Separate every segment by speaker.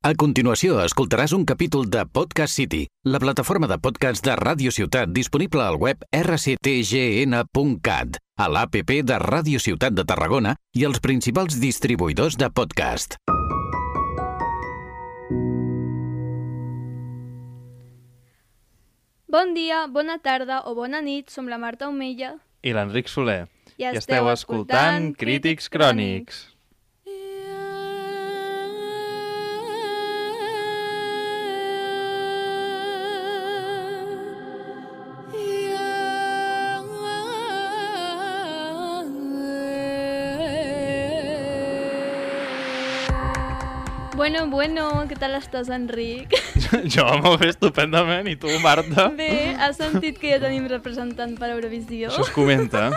Speaker 1: A continuació escoltaràs un capítol de Podcast City, la plataforma de podcast de Ràdio Ciutat disponible al web rctgn.cat, a l'APP de Ràdio Ciutat de Tarragona i els principals distribuïdors de podcast.
Speaker 2: Bon dia, bona tarda o bona nit, som la Marta Omella.
Speaker 3: i l'Enric Soler. I esteu escoltant Crítics Crònics.
Speaker 2: Bueno, bueno, què tal estàs, Enric?
Speaker 3: Jo molt bé, estupendament, i tu, Marta?
Speaker 2: Bé, has sentit que ja tenim representant per Eurovisió?
Speaker 3: Això es comenta.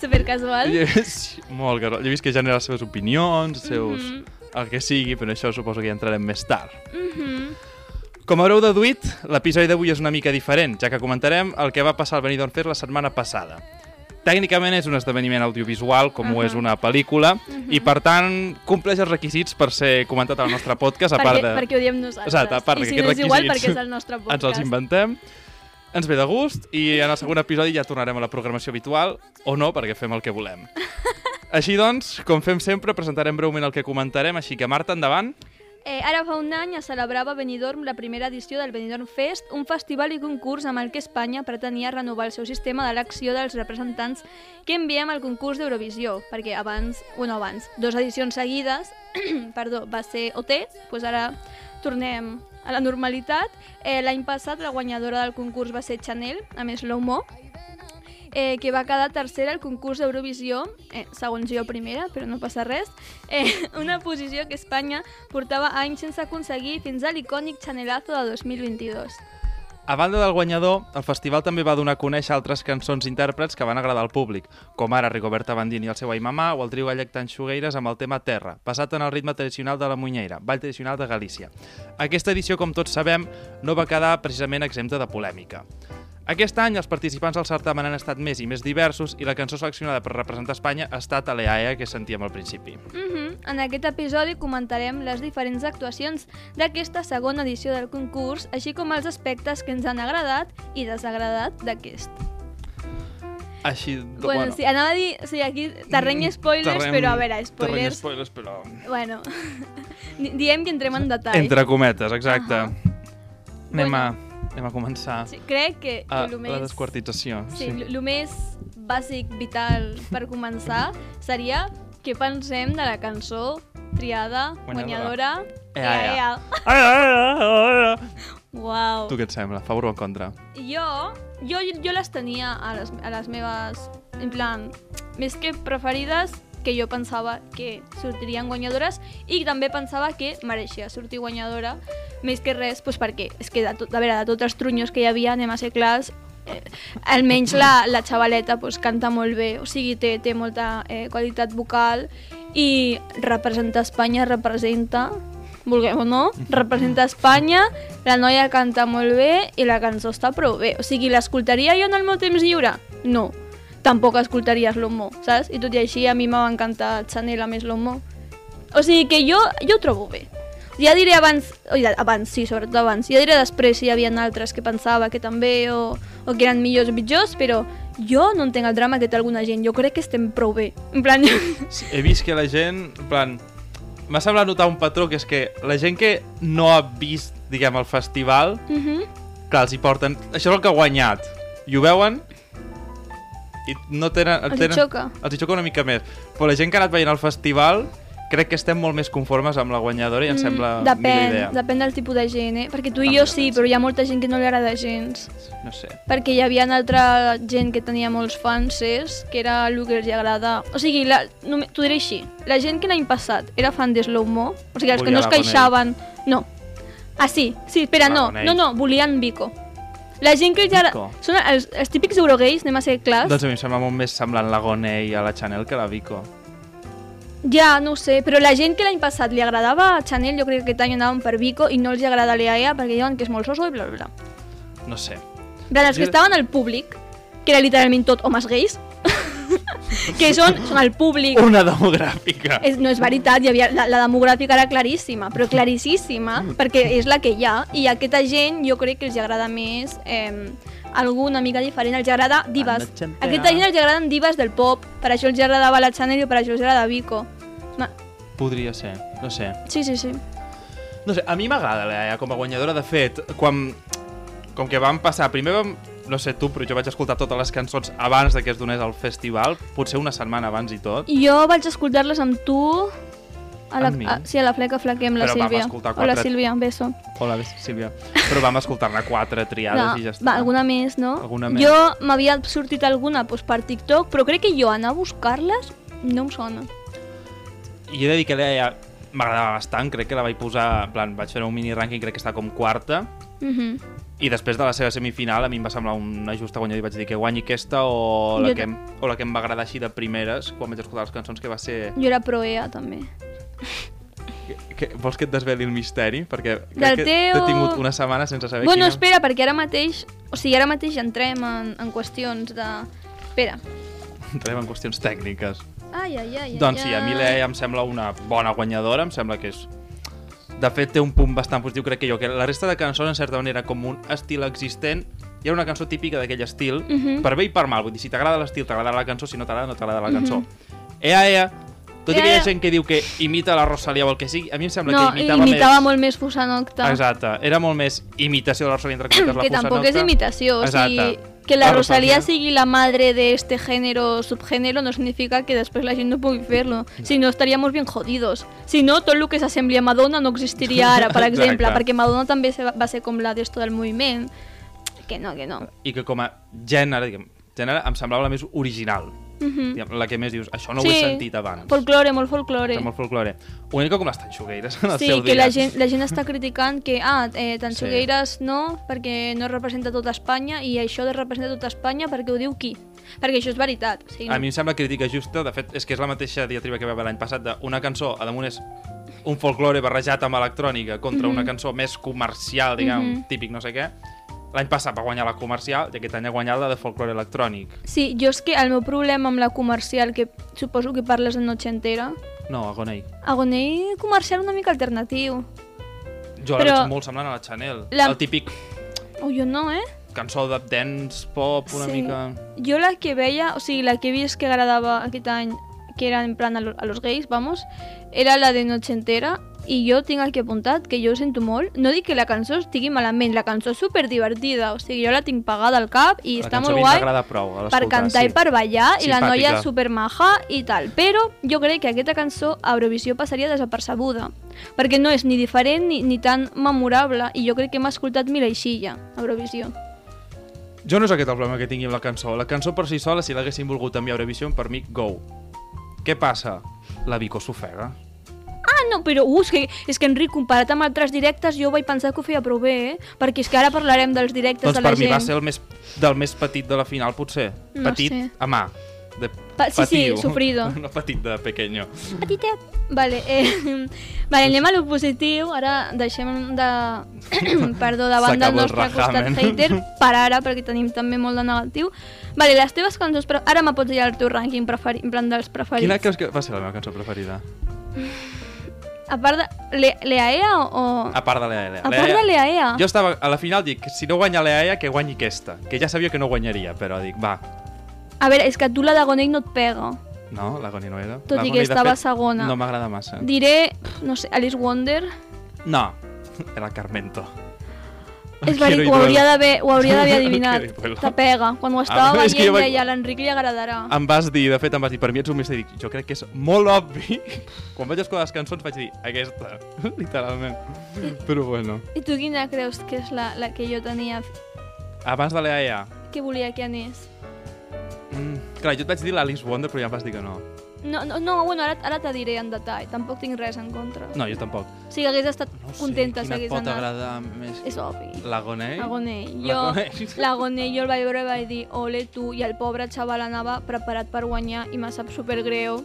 Speaker 2: Supercasual.
Speaker 3: I és molt carol. Jo he vist que genera les seves opinions, els seus...
Speaker 2: Mhm.
Speaker 3: el que sigui, però això suposo que hi entrarem més tard.
Speaker 2: Mhm.
Speaker 3: Com haureu deduït, l'episodi d'avui és una mica diferent, ja que comentarem el que va passar al Benidorm Fest la setmana passada. Tècnicament és un esdeveniment audiovisual, com ho
Speaker 2: Ahà. Mhm.
Speaker 3: és una pel·lícula, i per tant compleix els requisits per ser comentat al nostre podcast, a part
Speaker 2: perquè,
Speaker 3: de...
Speaker 2: perquè ho diem nosaltres.
Speaker 3: Exacte, a part
Speaker 2: I si
Speaker 3: d'aquests
Speaker 2: no és igual,
Speaker 3: requisits,
Speaker 2: perquè és el nostre podcast.
Speaker 3: ens els inventem, ens ve de gust i en el segon episodi ja tornarem a la programació habitual, o no, perquè fem el que volem. Així doncs, com fem sempre, presentarem breument el que comentarem, així que Marta, endavant.
Speaker 2: Eh, ara fa un any es celebrava a Benidorm la primera edició del Benidorm Fest, un festival i concurs amb el que Espanya pretenia renovar el seu sistema d'elecció dels representants que enviem al concurs d'Eurovisió, perquè abans, bueno, abans, dues edicions seguides, perdó, va ser OT, doncs ara tornem a la normalitat. Eh, L'any passat la guanyadora del concurs va ser Chanel, a més l'Homo, eh, que va quedar tercera al concurs d'Eurovisió, eh, segons jo primera, però no passa res, eh, una posició que Espanya portava anys sense aconseguir fins a l'icònic Chanelazo de 2022.
Speaker 3: A banda del guanyador, el festival també va donar a conèixer altres cançons i intèrprets que van agradar al públic, com ara Rigoberta Bandini i el seu Ai Mamà o el trio gallec Tanxugueires amb el tema Terra, basat en el ritme tradicional de la Munyeira, ball tradicional de Galícia. Aquesta edició, com tots sabem, no va quedar precisament exempta de polèmica. Aquest any els participants del certamen han estat més i més diversos i la cançó seleccionada per representar Espanya ha estat Aleaia, E, que sentíem al principi.
Speaker 2: Mhm. En aquest episodi comentarem les diferents actuacions d'aquesta segona edició del concurs, així com els aspectes que ens han agradat i desagradat d'aquest.
Speaker 3: Així,
Speaker 2: Bueno, sí, anava a dir, sí, aquí terreny spoilers,
Speaker 3: Mm, terreny-
Speaker 2: però a veure,
Speaker 3: Terreny
Speaker 2: spoilers...
Speaker 3: spoilers, però...
Speaker 2: Bueno, di- diem que entrem en detall.
Speaker 3: Entre cometes, exacte.
Speaker 2: Ahà.
Speaker 3: Anem,
Speaker 2: Bueno.
Speaker 3: a, anem a començar
Speaker 2: Sí, crec que
Speaker 3: a,
Speaker 2: el
Speaker 3: Ah, la
Speaker 2: més...
Speaker 3: desquartització.
Speaker 2: Sí, el més bàsic, vital, per començar, seria què pensem de la cançó triada, guanyadora...
Speaker 3: Guanyadora.
Speaker 2: Ea,
Speaker 3: Ea, ea.
Speaker 2: ea.
Speaker 3: Ai, ai, ai, ai, ai.
Speaker 2: Uau.
Speaker 3: Tu què et sembla? Favor o en contra?
Speaker 2: Jo, jo, jo les tenia a les, a les meves, en plan, més que preferides, que jo pensava que sortirien guanyadores i també pensava que mereixia sortir guanyadora, més que res, doncs perquè, és que de, tot, a veure, de tots els trunyos que hi havia, anem a ser clars, eh, almenys la, la xavaleta doncs, canta molt bé, o sigui, té, té molta eh, qualitat vocal i representa Espanya, representa, vulguem o no, representa Espanya, la noia canta molt bé i la cançó està prou bé. O sigui, l'escoltaria jo en el meu temps lliure? No. Tampoc escoltaries l'Homo, saps? I tot i així a mi m'ha encantat Chanel a més l'Homo. O sigui que jo, jo ho trobo bé. Ja diré abans, o ja, abans, sí, sobretot abans, ja diré després si hi havia altres que pensava que també o, o que eren millors o pitjors, però jo no entenc el drama que té alguna gent, jo crec que estem prou bé. En plan,
Speaker 3: Sí, he vist que la gent, en plan... M'ha semblat notar un patró, que és que la gent que no ha vist, diguem, el festival,
Speaker 2: Mhm.
Speaker 3: clar, els hi porten... Això és el que ha guanyat. I ho veuen i no tenen...
Speaker 2: Els hi
Speaker 3: tenen,
Speaker 2: xoca.
Speaker 3: Els hi xoca una mica més. Però la gent que ha anat veient al festival crec que estem molt més conformes amb la guanyadora i em sembla
Speaker 2: Mm, depèn,
Speaker 3: millor idea.
Speaker 2: depèn del tipus de gent, eh? Perquè tu i
Speaker 3: També
Speaker 2: jo
Speaker 3: depèn,
Speaker 2: sí,
Speaker 3: sí.
Speaker 2: però hi ha molta gent que no li agrada gens.
Speaker 3: No sé.
Speaker 2: Perquè hi havia altra gent que tenia molts fans, és, que era el que els hi agrada... O sigui, la, no, t'ho diré així, la gent que l'any passat era fan de Slow Mo, o sigui, els que
Speaker 3: Volia
Speaker 2: no es
Speaker 3: la Bonet.
Speaker 2: queixaven... No. Ah, sí, sí, espera,
Speaker 3: La
Speaker 2: no,
Speaker 3: Bonet.
Speaker 2: no, no, volien Vico. La gent que els hi agrada...
Speaker 3: Vico.
Speaker 2: Són els, els típics eurogays, anem a ser clars.
Speaker 3: Doncs a mi em sembla molt més semblant la Gonei a la Chanel que la Vico.
Speaker 2: Ja, no ho sé, però la gent que l'any passat li agradava a Chanel, jo crec que aquest any anaven per Vico i no els hi agrada l'EAEA E perquè diuen que és molt soso i bla, bla, bla.
Speaker 3: No sé.
Speaker 2: De les que
Speaker 3: Jo-
Speaker 2: estaven al públic, que era literalment tot homes gais, que són, són el públic.
Speaker 3: Una demogràfica.
Speaker 2: És, no és veritat, hi havia, la, la demogràfica era claríssima, però claríssima,
Speaker 3: Mm.
Speaker 2: perquè és la que hi ha, i a aquesta gent jo crec que els agrada més eh, algú una mica diferent, els agrada divas.
Speaker 3: Anna ah. Chantea.
Speaker 2: A aquesta gent els agraden divas del pop, per això els agradava la Chanel i per això els agrada Vico. Ma-
Speaker 3: Podria ser, no sé.
Speaker 2: Sí, sí, sí.
Speaker 3: No sé, a mi m'agrada la Yaya com a guanyadora. De fet, quan, com que vam passar... Primer vam... No sé tu, però jo vaig escoltar totes les cançons abans de que es donés el festival, potser una setmana abans i tot.
Speaker 2: I jo vaig escoltar-les amb tu... A la,
Speaker 3: Amb mi?
Speaker 2: a, sí, a la fleca flaquem, la
Speaker 3: Però vam
Speaker 2: Sílvia.
Speaker 3: escoltar
Speaker 2: Hola,
Speaker 3: quatre-
Speaker 2: Sílvia, un beso.
Speaker 3: Hola, Sílvia. Però vam escoltar-ne quatre triades i ja està.
Speaker 2: va, alguna més, no?
Speaker 3: Alguna més.
Speaker 2: Jo m'havia sortit alguna doncs, per TikTok, però crec que jo anar a buscar-les no em sona.
Speaker 3: I he de dir que la Yaya m'agradava bastant, crec que la vaig posar... En plan, vaig fer un mini-rànquing, crec que està com quarta.
Speaker 2: Mhm.
Speaker 3: I després de la seva semifinal a mi em va semblar una justa guanyada i vaig dir que guanyi aquesta o la,
Speaker 2: Jo
Speaker 3: que, em,
Speaker 2: tam-
Speaker 3: o la que em va agradar així de primeres quan vaig escoltar les cançons que va ser...
Speaker 2: Jo era proea, també.
Speaker 3: Que, que, vols que et desveli el misteri? Perquè
Speaker 2: Del
Speaker 3: crec que
Speaker 2: teu-
Speaker 3: t'he tingut una setmana sense saber
Speaker 2: bueno,
Speaker 3: quina...
Speaker 2: espera, perquè ara mateix... O sigui, ara mateix entrem en, en qüestions de... Espera.
Speaker 3: Entrem en qüestions tècniques.
Speaker 2: Ai, ai, ai, ai,
Speaker 3: Doncs sí, a mi
Speaker 2: ai.
Speaker 3: l'EA em sembla una bona guanyadora, em sembla que és... De fet, té un punt bastant positiu, crec que jo, que la resta de cançons, en certa manera, com un estil existent, hi ha una cançó típica d'aquell estil,
Speaker 2: Mhm.
Speaker 3: per bé i per mal, vull dir, si t'agrada l'estil, t'agradarà la cançó, si no t'agrada, no t'agrada la cançó. Ea, ea, tot i que hi
Speaker 2: Mhm. Ea,
Speaker 3: ha
Speaker 2: ea.
Speaker 3: gent que diu que imita la Rosalia o el que sigui, a mi em sembla
Speaker 2: No,
Speaker 3: que
Speaker 2: imitava,
Speaker 3: imitava, més...
Speaker 2: molt més Fusanocta.
Speaker 3: Exacte, era molt més imitació de la Rosalia, entre cometes, la
Speaker 2: que tampoc
Speaker 3: Fusanocta.
Speaker 2: és imitació, o sigui,
Speaker 3: Exacte.
Speaker 2: que la, Rosalía
Speaker 3: Rosalía-
Speaker 2: sigui la madre de este género o subgénero no significa que después la gente no pugui fer-lo, si no estaríamos bien jodidos. Si no, tot el que s'assembli a Madonna no existiria ara, per
Speaker 3: Exacte.
Speaker 2: exemple, perquè Madonna també se va, va ser com la d'esto del moviment. Que no, que no.
Speaker 3: I que com a gènere, diguem, gènere, em semblava la més original,
Speaker 2: Mhm.
Speaker 3: diguem, la que més dius, això no ho he sentit abans.
Speaker 2: Folclore, molt folclore.
Speaker 3: Està molt folclore. Una mica com les tanxugueires en el
Speaker 2: Sí,
Speaker 3: seu
Speaker 2: que
Speaker 3: dia.
Speaker 2: la gent, la gent està criticant que ah, eh, Tanxugueiras no, perquè no representa tota Espanya i això de representa tota Espanya perquè ho diu qui? Perquè això és veritat. O sigui,
Speaker 3: A mi em sembla crítica justa, de fet, és que és la mateixa diatriba que va haver l'any passat d'una cançó, a damunt és un folklore barrejat amb electrònica contra una cançó més comercial, diguem,
Speaker 2: Mhm.
Speaker 3: típic no sé què. L'any passat va guanyar la comercial i aquest any ha guanyat la de folklore electrònic.
Speaker 2: Sí, jo és que el meu problema amb la comercial, que suposo que parles de noche entera,
Speaker 3: No, Agonei.
Speaker 2: agonei comercial una mica alternatiu.
Speaker 3: Jo la
Speaker 2: Però-
Speaker 3: veig molt semblant a la Chanel.
Speaker 2: La-
Speaker 3: El típic
Speaker 2: O jo no, eh?
Speaker 3: cançó de dance pop, una
Speaker 2: Sí.
Speaker 3: mica...
Speaker 2: Jo la que veia, o sigui, la que he vist que agradava aquest any, que era en plan a, lo- a los gais, vamos, era la de noche entera, i jo tinc aquí apuntat que jo ho sento molt. No dic que la cançó estigui malament, la cançó és superdivertida, o sigui, jo la tinc pagada al cap i
Speaker 3: la
Speaker 2: està
Speaker 3: cançó a
Speaker 2: molt
Speaker 3: mi
Speaker 2: guai.
Speaker 3: m'agrada prou a
Speaker 2: per
Speaker 3: l'escoltar,
Speaker 2: cantar
Speaker 3: sí.
Speaker 2: i per ballar i la
Speaker 3: Simpàtica.
Speaker 2: noia és supermaja i tal, però jo crec que aquesta cançó a Eurovisió passaria desapercebuda perquè no és ni diferent ni, ni tan memorable i jo crec que hem escoltat mil aixilla a Eurovisió
Speaker 3: Jo no és aquest el problema que tingui amb la cançó. La cançó per si sola, si l'haguessin volgut enviar a Eurovision, per mi, go. Què passa? La Vico s'ofega.
Speaker 2: Ah, no, però uh, és, que, és que Enric, comparat amb altres directes, jo vaig pensar que ho feia prou bé, eh? Perquè és que ara parlarem dels directes
Speaker 3: Doncs
Speaker 2: de la
Speaker 3: per mi
Speaker 2: gent.
Speaker 3: va ser el més, del més petit de la final, potser.
Speaker 2: No
Speaker 3: petit
Speaker 2: sé.
Speaker 3: a mà. De
Speaker 2: Pa- sí, sí,
Speaker 3: patiu.
Speaker 2: sufrido.
Speaker 3: No petit de pequeño.
Speaker 2: Petitet. Vale, eh, vale, anem a lo positiu. Ara deixem de... Perdó, de banda el
Speaker 3: S'acabó el
Speaker 2: nostre costat
Speaker 3: rajamen.
Speaker 2: hater per ara, perquè tenim també molt de negatiu. Vale, les teves cançons... Pre... Ara me pots dir el teu rànquing preferit, en plan dels preferits.
Speaker 3: Quina creus que va ser la meva cançó preferida?
Speaker 2: A part de... Le- Leaea o... o-
Speaker 3: A part de l'EAEA.
Speaker 2: A part de Leaea.
Speaker 3: Jo estava, a la final dic, si no guanya l'EAEA, que guanyi aquesta. Que ja sabia que no guanyaria, però dic, va,
Speaker 2: A veure, és que tu la d'Agonell no et pega.
Speaker 3: no, l'Agoni no era.
Speaker 2: Tot i
Speaker 3: L'Agoni,
Speaker 2: que
Speaker 3: de
Speaker 2: estava
Speaker 3: fet,
Speaker 2: segona.
Speaker 3: No m'agrada massa.
Speaker 2: Diré, no sé, Alice Wonder.
Speaker 3: No, era Carmento.
Speaker 2: És
Speaker 3: Quiero
Speaker 2: veritat,
Speaker 3: y
Speaker 2: ho
Speaker 3: duelo.
Speaker 2: hauria d'haver ho hauria d'haver
Speaker 3: Quiero
Speaker 2: adivinat.
Speaker 3: y duelo.
Speaker 2: Te pega. Quan ho estava
Speaker 3: Ah, és
Speaker 2: veient,
Speaker 3: que jo vaig- Ah.
Speaker 2: deia, a l'Enric li agradarà.
Speaker 3: em vas dir, de fet em vas dir, per mi ets un misteri. Dic, Jo crec que és molt obvi. Quan vaig escoltar les cançons vaig dir, aquesta, literalment. Però bueno.
Speaker 2: I tu quina creus que és la, la que jo tenia
Speaker 3: Abans de l'EAEA,
Speaker 2: que volia que anés?
Speaker 3: mm, clar, jo et vaig dir l'Alice Wonder, però ja em vas dir que no.
Speaker 2: No, no, no bueno, ara, ara te diré en detall, tampoc tinc res en contra.
Speaker 3: No, jo tampoc.
Speaker 2: O sigui, hagués estat
Speaker 3: No
Speaker 2: contenta si
Speaker 3: sé,
Speaker 2: hagués
Speaker 3: quina et pot
Speaker 2: anat.
Speaker 3: agradar més.
Speaker 2: És obvi.
Speaker 3: L'Agonei?
Speaker 2: Agonell. Jo,
Speaker 3: L'Agonell.
Speaker 2: l'Agonell jo el vaig veure i vaig dir, ole tu, i el pobre xaval anava preparat per guanyar i me sap supergreu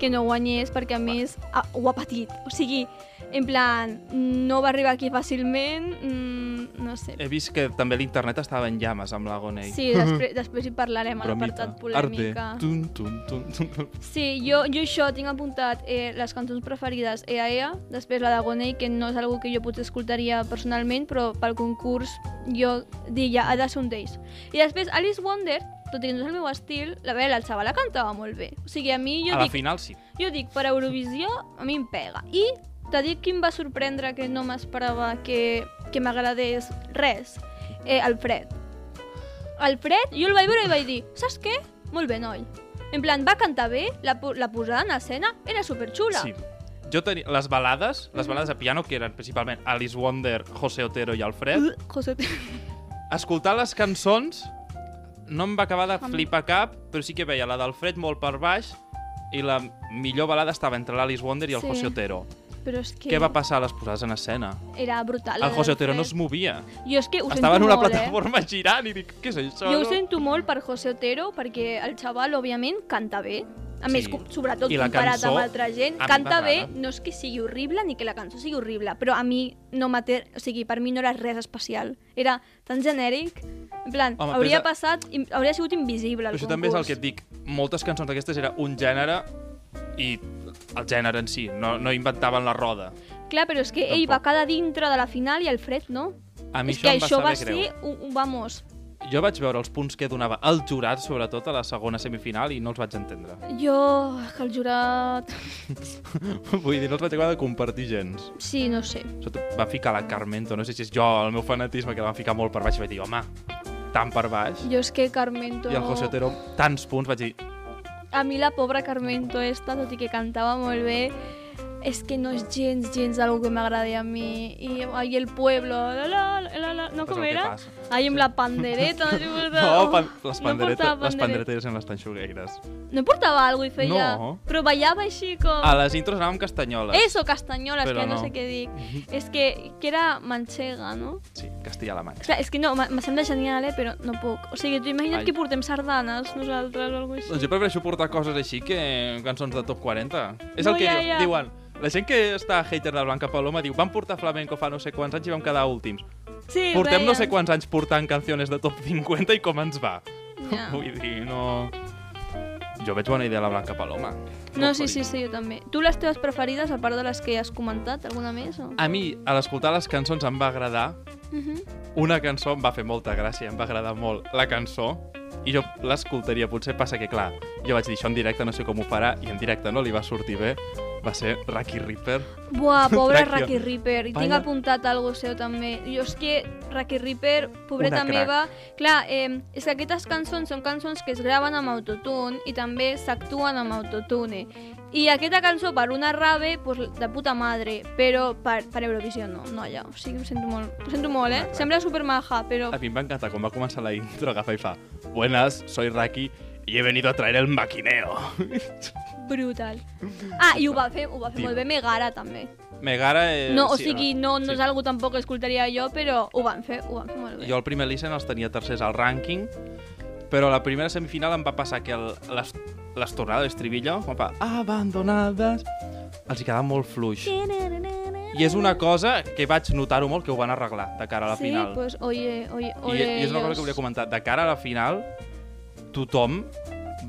Speaker 2: que no guanyés perquè a més ah, ho ha patit. O sigui, en plan, no va arribar aquí fàcilment, mm, no sé.
Speaker 3: He vist que també l'internet estava en llames amb l'Agonei.
Speaker 2: Sí, després, després hi parlarem a l'apartat polèmica.
Speaker 3: Arte. Tum, tum, tum, tum.
Speaker 2: Sí, jo, jo això tinc apuntat eh, les cançons preferides EA EA, després la d'Agonei, que no és algú que jo potser escoltaria personalment, però pel concurs jo diria ha de ser un d'ells. I després Alice Wonder, tot i que no és el meu estil, la bé, el xaval la cantava molt bé. O sigui, a mi jo
Speaker 3: A la
Speaker 2: dic,
Speaker 3: final sí.
Speaker 2: jo dic, per Eurovisió a mi em pega. I t'ha dit qui em va sorprendre que no m'esperava que, que m'agradés res? Eh, el Fred. El Fred, jo el vaig veure i vaig dir, saps què? Molt bé, noi. En plan, va cantar bé, la, po- la posada en escena era superxula.
Speaker 3: Sí. Jo tenia les balades,
Speaker 2: Mm.
Speaker 3: les balades de piano, que eren principalment Alice Wonder, José Otero i Alfred.
Speaker 2: Uh, José,
Speaker 3: Escoltar les cançons no em va acabar de flipar cap, però sí que veia la d'Alfred molt per baix i la millor balada estava entre l'Alice Wonder i el
Speaker 2: Sí.
Speaker 3: José Otero.
Speaker 2: però és que
Speaker 3: Què va passar a les posades en escena?
Speaker 2: era brutal.
Speaker 3: El
Speaker 2: la
Speaker 3: José
Speaker 2: del
Speaker 3: Otero no es
Speaker 2: Fred.
Speaker 3: movia.
Speaker 2: Jo és que ho
Speaker 3: Estava en
Speaker 2: sento
Speaker 3: una
Speaker 2: molt, eh?
Speaker 3: plataforma girant i dic, què és això?
Speaker 2: Jo ho
Speaker 3: no?"
Speaker 2: sento molt per José Otero, perquè el xaval, òbviament, canta bé. A més,
Speaker 3: Sí.
Speaker 2: com- sobretot
Speaker 3: I la
Speaker 2: comparat
Speaker 3: cançó,
Speaker 2: amb altra gent,
Speaker 3: a mi
Speaker 2: canta bé,
Speaker 3: m'agrada.
Speaker 2: no és que sigui horrible ni que la cançó sigui horrible, però a mi no m'ater... O sigui, per mi no era res especial. Era tan genèric, en plan,
Speaker 3: Home,
Speaker 2: Home, hauria
Speaker 3: però
Speaker 2: passat... im- Hauria sigut invisible el
Speaker 3: Però això
Speaker 2: concurs.
Speaker 3: també és el que et dic. Moltes cançons d'aquestes era un gènere i el gènere en si. No, no inventaven la roda.
Speaker 2: Clar, però és que ell
Speaker 3: Tampoc.
Speaker 2: va quedar dintre de la final i el Fred no.
Speaker 3: A mi
Speaker 2: és que
Speaker 3: això
Speaker 2: això
Speaker 3: em
Speaker 2: va
Speaker 3: va saber
Speaker 2: ser... Un, un, vamos,
Speaker 3: greu. Jo vaig veure els punts que donava el jurat, sobretot a la segona semifinal, i no els vaig entendre.
Speaker 2: jo... que el jurat...
Speaker 3: Vull dir, no els vaig acabar de compartir gens.
Speaker 2: Sí, no sé.
Speaker 3: Sobretot va ficar la Carmento, no sé si és jo, el meu fanatisme, que la van ficar molt per baix, i vaig dir, home, tan per baix.
Speaker 2: Jo és que Carmento...
Speaker 3: I el José Otero, tants punts, vaig dir,
Speaker 2: A mi la pobra Carmento esta, tot i que cantava molt bé, és que no és gens, gens algo que m'agradi a mi. I, ai, el pueblo, la, la, la, la, no
Speaker 3: Passa
Speaker 2: com
Speaker 3: el Pues que
Speaker 2: era?
Speaker 3: passa.
Speaker 2: Ai, amb la pandereta. No, sé si portava-
Speaker 3: no, pan les,
Speaker 2: no
Speaker 3: panderetes,
Speaker 2: portava
Speaker 3: les
Speaker 2: pandereta.
Speaker 3: panderetes eren les tanxugueires.
Speaker 2: No portava alguna cosa i feia...
Speaker 3: No.
Speaker 2: Però ballava així com...
Speaker 3: A les intros anàvem castanyoles.
Speaker 2: Eso, castanyoles,
Speaker 3: Però
Speaker 2: que no.
Speaker 3: no. Mhm.
Speaker 2: sé què dic. És que, que era manxega, no?
Speaker 3: Sí, Castilla-La Mancha.
Speaker 2: Clar, és que no, me- me sembla genial, eh, però no puc. O sigui, tu imagina't
Speaker 3: Ai.
Speaker 2: que portem sardanes nosaltres o alguna cosa així.
Speaker 3: Doncs jo prefereixo portar coses així que cançons de top 40. És
Speaker 2: No,
Speaker 3: el que
Speaker 2: ja, ja.
Speaker 3: diuen. La gent que està hater de Blanca Paloma diu van portar flamenco fa no sé quants anys i vam quedar últims.
Speaker 2: Sí,
Speaker 3: Portem no
Speaker 2: deien.
Speaker 3: sé quants anys portant canciones de top 50 i com ens va.
Speaker 2: Ja.
Speaker 3: Vull dir, no... Jo veig bona idea la Blanca Paloma.
Speaker 2: No, sí, sí, sí, jo també. Tu les teves preferides, a part de les que has comentat, alguna més? O?
Speaker 3: A mi, a l'escoltar les cançons em va agradar. Una cançó em va fer molta gràcia, em va agradar molt la cançó i jo l'escoltaria, potser passa que, clar, jo vaig dir això en directe, no sé com ho farà, i en directe no li va sortir bé, va ser Rocky Ripper.
Speaker 2: Buah, pobre
Speaker 3: Raki-
Speaker 2: Raki Ripper. I tinc
Speaker 3: Vaya.
Speaker 2: apuntat algo seu també. Jo és que Raki Ripper, pobreta
Speaker 3: Una crac.
Speaker 2: meva... Clar, eh, és que aquestes cançons són cançons que es graven amb autotune i també s'actuen amb autotune. I aquesta cançó per una rave, pues, de puta madre, però per, per Eurovisió no, no allà. O sigui, em sento molt, ho sento molt, eh? Sembla supermaja, però...
Speaker 3: A mi em va encantar quan va començar la intro, agafa i fa Buenas, soy Rocky y he venido a traer el maquineo.
Speaker 2: Brutal. Ah, i ho va fer, ho va fer
Speaker 3: Tio.
Speaker 2: molt bé Megara, també.
Speaker 3: Megara... Eh,
Speaker 2: No, o
Speaker 3: sí,
Speaker 2: sigui, no, no és
Speaker 3: sí.
Speaker 2: algo tampoc que escoltaria jo, però ho van fer, ho van fer molt bé.
Speaker 3: Jo el primer listen els tenia tercers al rànquing, però la primera semifinal em va passar que el, les, les tornades d'estribillo, em va abandonades, els hi quedava molt fluix. I és una cosa que vaig notar-ho molt, que ho van arreglar de cara a la
Speaker 2: sí,
Speaker 3: final.
Speaker 2: pues oye, oye,
Speaker 3: I,
Speaker 2: oye
Speaker 3: I és una cosa que volia comentar. De cara a la final, tothom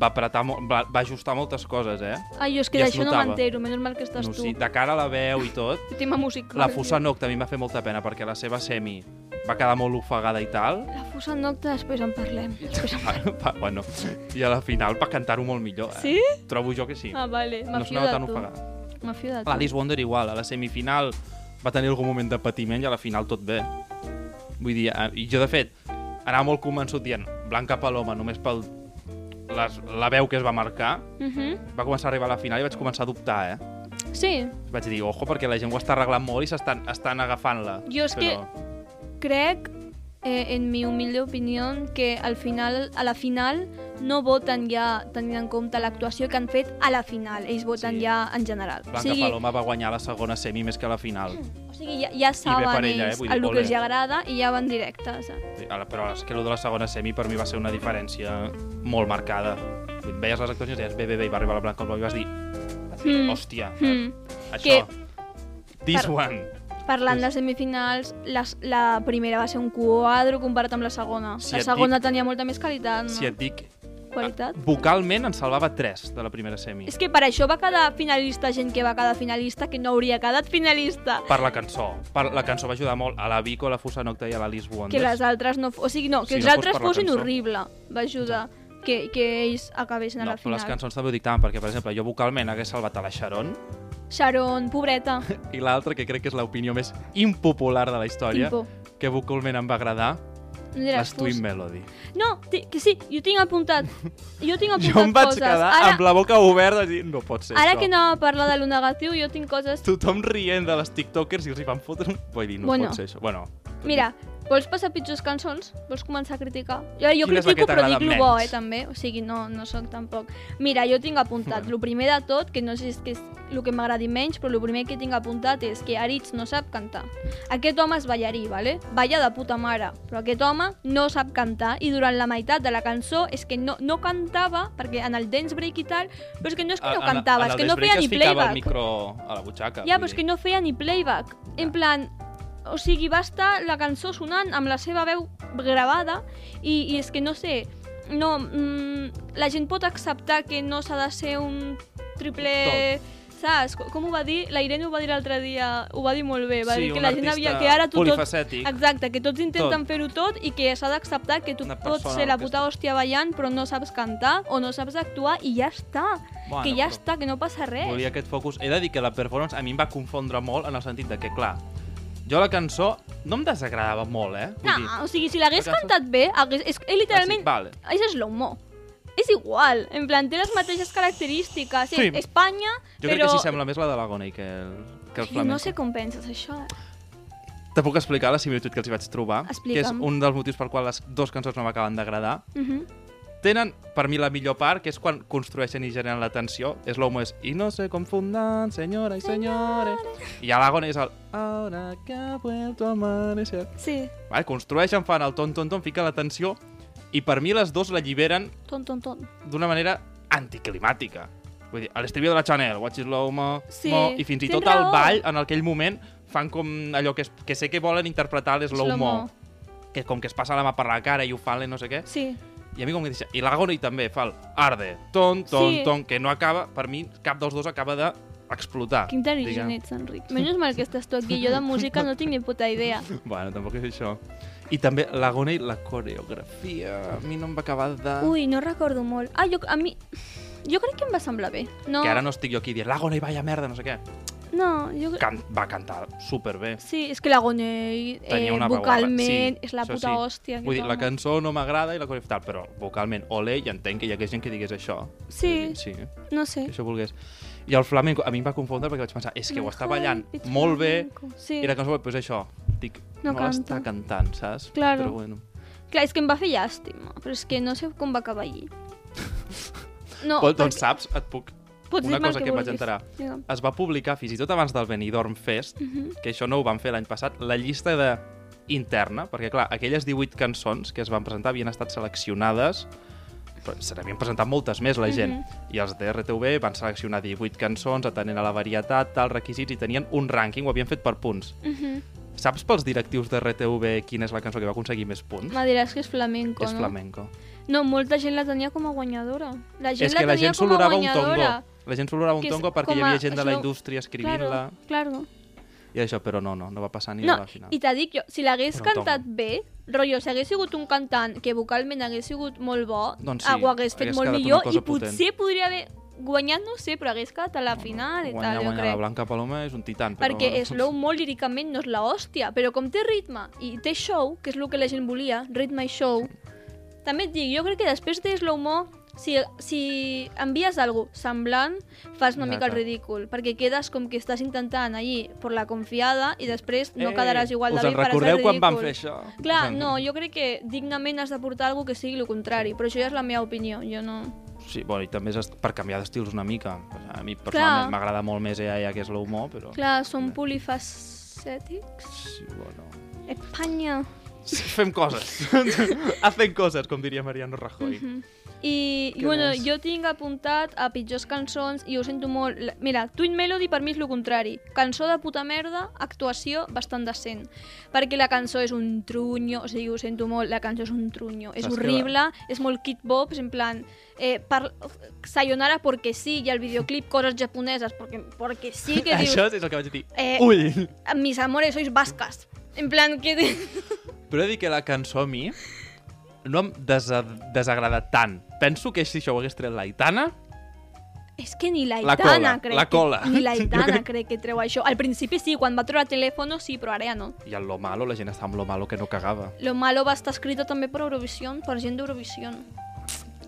Speaker 3: va apretar, molt, va, va ajustar moltes coses, eh?
Speaker 2: Ai, jo és que
Speaker 3: Ja es
Speaker 2: d'això no
Speaker 3: notava.
Speaker 2: m'entero, menys mal que estàs
Speaker 3: No,
Speaker 2: Doncs tu.
Speaker 3: sí, de cara a la veu i tot,
Speaker 2: Tema musical.
Speaker 3: la Fossa Noc també em va fer molta pena perquè la seva semi va quedar molt ofegada i tal.
Speaker 2: La fossa nocta, després en parlem. Després en...
Speaker 3: Va, va, bueno, i a la final va cantar-ho molt millor. Eh?
Speaker 2: Sí?
Speaker 3: Trobo jo que sí.
Speaker 2: Ah, vale,
Speaker 3: no
Speaker 2: m'afio
Speaker 3: sonava tan
Speaker 2: de tu.
Speaker 3: ofegada.
Speaker 2: M'afio de tu.
Speaker 3: L'Alice Wonder igual, a la semifinal va tenir algun moment de patiment i a la final tot bé. Vull dir, eh, i jo de fet anava molt convençut dient Blanca Paloma només pel les, la veu que es va marcar,
Speaker 2: Mhm.
Speaker 3: va començar a arribar a la final i vaig començar a dubtar, eh?
Speaker 2: Sí,
Speaker 3: Vaig dir, ojo, perquè la gent ho està arreglant molt i s'estan estan agafant-la.
Speaker 2: Jo és que- crec, eh, en mi humilde opinió, que al final, a la final no voten ja tenint en compte l'actuació que han fet a la final. Ells voten
Speaker 3: Sí.
Speaker 2: ja en general.
Speaker 3: Blanca Paloma va guanyar la segona semi més que la final.
Speaker 2: O sigui, ja, ja
Speaker 3: per
Speaker 2: saben
Speaker 3: ella, eh?
Speaker 2: ells
Speaker 3: Vull dir,
Speaker 2: el
Speaker 3: molt
Speaker 2: que els
Speaker 3: bé.
Speaker 2: agrada i ja van directes. eh?
Speaker 3: Sí, ara, Però és que allò de la segona semi per mi va ser una diferència molt marcada. Vull dir, Veies les actuacions i deies, bé, bé, bé, i va arribar la Blanca Paloma i vas dir,
Speaker 2: Mm.
Speaker 3: hòstia,
Speaker 2: Mm.
Speaker 3: Això.
Speaker 2: Que-
Speaker 3: This
Speaker 2: Per- Mm.
Speaker 3: one.
Speaker 2: Parlant
Speaker 3: Sí.
Speaker 2: de semifinals, les, la primera va ser un quadro comparat amb la segona.
Speaker 3: Si
Speaker 2: la
Speaker 3: et
Speaker 2: segona
Speaker 3: dic-
Speaker 2: tenia molta més qualitat, no?
Speaker 3: Si et dic, eh,
Speaker 2: Qualitat.
Speaker 3: vocalment en salvava 3 de la primera semi.
Speaker 2: És que per això va quedar finalista gent que va quedar finalista que no hauria quedat finalista.
Speaker 3: Per la cançó. Per la cançó va ajudar molt a la Vico, a la Fusa Nocta i a l'Alice Wonders.
Speaker 2: Que les altres no... O sigui, no, que
Speaker 3: Doncs Si
Speaker 2: els
Speaker 3: no fos
Speaker 2: altres
Speaker 3: per la
Speaker 2: fossin
Speaker 3: cançó.
Speaker 2: horrible. Va ajudar que, que ells acabessin a
Speaker 3: No,
Speaker 2: la
Speaker 3: però
Speaker 2: final.
Speaker 3: les cançons també ho dictaven, perquè, per exemple, jo vocalment hagués salvat a la Sharon
Speaker 2: Sharon, pobreta.
Speaker 3: i l'altra, que crec que és l'opinió més impopular de la història,
Speaker 2: Timpo.
Speaker 3: que vocalment em va agradar,
Speaker 2: No diràs
Speaker 3: les
Speaker 2: fus.
Speaker 3: Twin Melody.
Speaker 2: No, ti- que sí, jo tinc apuntat. Jo tinc apuntat
Speaker 3: Jo em vaig
Speaker 2: coses.
Speaker 3: quedar
Speaker 2: ara,
Speaker 3: amb la boca oberta i dir, no pot ser
Speaker 2: ara
Speaker 3: això.
Speaker 2: que anava a parlar de lo negatiu, jo tinc coses...
Speaker 3: Tothom rient de les tiktokers i els hi van fotre un... Vull dir, no
Speaker 2: Bueno.
Speaker 3: pot ser això. Bueno,
Speaker 2: Mira, vols passar pitjors cançons? Vols començar a criticar? Jo, jo
Speaker 3: Quina és la que
Speaker 2: critico però
Speaker 3: t'agrada
Speaker 2: dic lo bo,
Speaker 3: menys?
Speaker 2: eh, també. O sigui, no, no sóc tampoc... Mira, jo tinc apuntat,
Speaker 3: Bueno.
Speaker 2: lo primer de tot, que no sé si és que és el que m'agradi menys, però el primer que tinc apuntat és que Aritz no sap cantar. Aquest home és ballarí, vale? Balla de puta mare, però aquest home no sap cantar i durant la meitat de la cançó és que no, no cantava, perquè en el dance break i tal, però és que no és que no
Speaker 3: en- en
Speaker 2: cantava, és
Speaker 3: el
Speaker 2: que no
Speaker 3: Dance
Speaker 2: feia
Speaker 3: Break
Speaker 2: ni
Speaker 3: es ficava
Speaker 2: playback.
Speaker 3: el micro a la
Speaker 2: Ja,
Speaker 3: butxaca. vull
Speaker 2: però és
Speaker 3: dir.
Speaker 2: que no feia ni playback. En plan, o sigui, va estar la cançó sonant amb la seva veu gravada i, i és que no sé, no, mm, la gent pot acceptar que no s'ha de ser un triple... Saps? Co- Com ho va dir? La Irene ho va dir l'altre dia, ho va dir molt bé, va
Speaker 3: Sí,
Speaker 2: dir que
Speaker 3: un
Speaker 2: la gent havia...
Speaker 3: artista
Speaker 2: Que ara tu tot,
Speaker 3: polifacètic.
Speaker 2: Exacte, que tots intenten
Speaker 3: Tot.
Speaker 2: fer-ho tot i que s'ha d'acceptar que tu
Speaker 3: Una
Speaker 2: pots
Speaker 3: persona,
Speaker 2: ser la
Speaker 3: el que
Speaker 2: puta hòstia ballant però no saps cantar o no saps actuar i ja està.
Speaker 3: Bueno,
Speaker 2: que ja
Speaker 3: però-
Speaker 2: està, que no passa res.
Speaker 3: volia aquest focus. He de dir que la performance a mi em va confondre molt en el sentit de que, clar, jo la cançó no em desagradava molt, eh? Vull dir,
Speaker 2: No, o sigui, si l'hagués
Speaker 3: Acaso-
Speaker 2: cantat bé, hagués, és, és literalment...
Speaker 3: Vale.
Speaker 2: És slow-mo. És igual, en plan, té les mateixes característiques.
Speaker 3: Sí.
Speaker 2: Sí. Espanya,
Speaker 3: jo
Speaker 2: però...
Speaker 3: crec que sí sembla més la de l'Agona i que el, que el
Speaker 2: Jo
Speaker 3: flamenco.
Speaker 2: no sé com penses això.
Speaker 3: Te puc explicar la similitud que els hi vaig trobar, que és
Speaker 2: Explica'm.
Speaker 3: un dels motius per qual les dues cançons no m'acaben d'agradar.
Speaker 2: Uh -huh.
Speaker 3: Tenen, per mi, la millor part, que és quan construeixen i generen la tensió. És l'homo és I no se confundan, senyora i senyores. I a l'Agona és el Ahora que ha vuelto a amanecer.
Speaker 2: Sí,
Speaker 3: Vale, construeixen, fan el ton, ton, ton, fiquen la tensió i per mi les dos la lliberen
Speaker 2: ton, ton, ton.
Speaker 3: d'una manera anticlimàtica. Vull dir, a l'estribió de la Chanel, Watch It Low, mo,
Speaker 2: Sí,
Speaker 3: mo, i fins i
Speaker 2: tens
Speaker 3: tot el
Speaker 2: raó.
Speaker 3: ball, en aquell moment, fan com allò que, es, que sé que volen interpretar l'Slow Mo,
Speaker 2: Slow-mo.
Speaker 3: que com que es passa la mà per la cara i ho fan, no sé què.
Speaker 2: Sí.
Speaker 3: I a mi com que deixa... I l'Agoni també fa el arde, ton, ton,
Speaker 2: Sí.
Speaker 3: ton, que no acaba, per mi cap dels dos acaba de explotar.
Speaker 2: Que intel·ligent
Speaker 3: diguem.
Speaker 2: ets, Enric. Menys mal que estàs tu aquí. Jo de música no tinc ni puta idea.
Speaker 3: Bueno, tampoc és això. I també l'Agona i la coreografia. A mi no em va acabar de...
Speaker 2: Ui, no recordo molt. Ah, jo, a mi... Jo crec que em va semblar bé. No,
Speaker 3: Que ara no estic jo aquí dient l'Agona i vaya merda, no sé què.
Speaker 2: no jo...
Speaker 3: Can va cantar superbé.
Speaker 2: Sí, és que l'Agonei eh,
Speaker 3: Tenia una veu guapa.
Speaker 2: vocalment és la
Speaker 3: això
Speaker 2: puta hòstia.
Speaker 3: Vull dir,
Speaker 2: aquest
Speaker 3: la
Speaker 2: home.
Speaker 3: cançó no m'agrada i la coreografia tal, però vocalment, ole, i entenc que hi hagués gent que digués això. Vull
Speaker 2: Sí,
Speaker 3: dir, sí,
Speaker 2: no sé.
Speaker 3: que això volgués. I el flamenco, a mi em va confondre perquè vaig pensar, és que ho està
Speaker 2: Mejor
Speaker 3: ballant
Speaker 2: pitch
Speaker 3: molt bé,
Speaker 2: flamenco. Sí.
Speaker 3: i la cançó, doncs això, dic,
Speaker 2: No
Speaker 3: no,
Speaker 2: canta.
Speaker 3: l'està cantant, saps?
Speaker 2: Claro.
Speaker 3: Però bueno.
Speaker 2: Clar, és que em va fer llàstima, però és que no sé com va acabar allí. No,
Speaker 3: Pot, doncs saps, et puc...
Speaker 2: pots
Speaker 3: una
Speaker 2: dir-me el
Speaker 3: cosa que em vaig
Speaker 2: vulguis.
Speaker 3: enterar.
Speaker 2: Digue'm.
Speaker 3: Es va publicar, fins i tot abans del Benidorm Fest,
Speaker 2: Mhm.
Speaker 3: que això no ho van fer l'any passat, la llista de interna, perquè clar, aquelles 18 cançons que es van presentar havien estat seleccionades però se n'havien presentat moltes més la gent
Speaker 2: Mhm.
Speaker 3: i els de RTV van seleccionar 18 cançons atenent a la varietat, tals requisits i tenien un rànquing, ho havien fet per punts
Speaker 2: Mhm.
Speaker 3: Saps pels directius de RTV quina és la cançó que va aconseguir més punts?
Speaker 2: Me diràs que és flamenco,
Speaker 3: és
Speaker 2: no?
Speaker 3: flamenco
Speaker 2: No, molta gent la tenia com a guanyadora. La gent
Speaker 3: és que
Speaker 2: la
Speaker 3: la
Speaker 2: tenia
Speaker 3: gent
Speaker 2: com a
Speaker 3: s'olorava un tongo
Speaker 2: guanyadora.
Speaker 3: la gent s'olorava un
Speaker 2: Que és
Speaker 3: tongo perquè hi
Speaker 2: com a-
Speaker 3: havia gent de la
Speaker 2: això-
Speaker 3: indústria escrivint-la
Speaker 2: Claro, claro.
Speaker 3: i això, però no, no, no va passar ni
Speaker 2: No,
Speaker 3: a la final
Speaker 2: i t'ha dit jo, si l'hagués
Speaker 3: Però un
Speaker 2: cantat bé, rotllo, si hagués sigut un cantant que vocalment hagués sigut molt bo,
Speaker 3: Doncs sí,
Speaker 2: ah, ho hagués fet
Speaker 3: hagués
Speaker 2: molt
Speaker 3: quedat una
Speaker 2: millor
Speaker 3: cosa
Speaker 2: i potser podria haver guanyat, no ho sé, però hagués quedat a la final i
Speaker 3: guanyar,
Speaker 2: tal, jo
Speaker 3: guanyar la
Speaker 2: crec.
Speaker 3: Blanca Paloma és un titan però
Speaker 2: Perquè
Speaker 3: bueno.
Speaker 2: slow molt líricament no és la hòstia, però com té ritme i té show, que és el que la gent volia, ritme i show, també et dic, jo crec que després de slow mo, si, si envies algo semblant, fas una mica el
Speaker 3: Exacte.
Speaker 2: ridícul, perquè quedes com que estàs intentant allí per la confiada i després no
Speaker 3: Eh,
Speaker 2: quedaràs igual
Speaker 3: us
Speaker 2: de
Speaker 3: en
Speaker 2: bé per ser
Speaker 3: recordeu
Speaker 2: ridícul.
Speaker 3: quan van fer això? Doncs Us
Speaker 2: Clar,
Speaker 3: en-
Speaker 2: no, jo crec que dignament has de portar algo que sigui el contrari, però això ja és la meva opinió, jo no...
Speaker 3: Sí, bueno, i també és est- per canviar d'estils una mica. A mi personalment m'agrada molt més EA ja que és l'humor, però...
Speaker 2: Clar, som polifacètics.
Speaker 3: Sí, bueno...
Speaker 2: Espanya.
Speaker 3: Sí, fem coses. Hacen coses, com diria Mariano Rajoy.
Speaker 2: Mhm. I, i
Speaker 3: Què
Speaker 2: bueno,
Speaker 3: més?
Speaker 2: jo tinc apuntat a pitjors cançons i ho sento molt. La- Mira, Twin Melody per mi és el contrari. Cançó de puta merda, actuació bastant decent. Perquè la cançó és un trunyo, o sigui, ho sento molt, la cançó és un trunyo. És
Speaker 3: Saps que
Speaker 2: horrible, és molt kid bop, és en plan... Eh, par... Sayonara porque sí, i el videoclip coses japoneses porque, porque sí que dius...
Speaker 3: Això és el que vaig dir.
Speaker 2: Eh,
Speaker 3: Ull!
Speaker 2: Mis amores, sois vascas. En plan, que...
Speaker 3: Però he de dir que la cançó a mi no em desa desagrada tant. Penso que si això ho hagués tret l'Aitana,
Speaker 2: És que ni la
Speaker 3: La
Speaker 2: Itana
Speaker 3: cola,
Speaker 2: crec
Speaker 3: la cola.
Speaker 2: Que, ni la Itana crec que treu això. Al principi sí, quan va treure telèfon sí, però ara ja no.
Speaker 3: i en Lo Malo, la gent està amb Lo Malo que no cagava.
Speaker 2: Lo malo va estar escrita també per Eurovisió, per gent d'Eurovisió.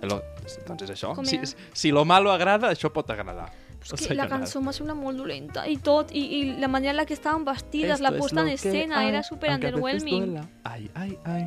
Speaker 3: El Lo... Doncs és això.
Speaker 2: Com
Speaker 3: Si,
Speaker 2: era?
Speaker 3: si Lo Malo agrada, això pot agradar.
Speaker 2: Però
Speaker 3: O
Speaker 2: és que
Speaker 3: sigui,
Speaker 2: la cançó m'ha semblat molt dolenta i tot, i, i la manera en la que estaven vestides, la
Speaker 3: Esto es
Speaker 2: posta en
Speaker 3: lo que
Speaker 2: escena,
Speaker 3: hay,
Speaker 2: era super
Speaker 3: aunque a veces
Speaker 2: underwhelming.
Speaker 3: duela. Ai, ai, ai.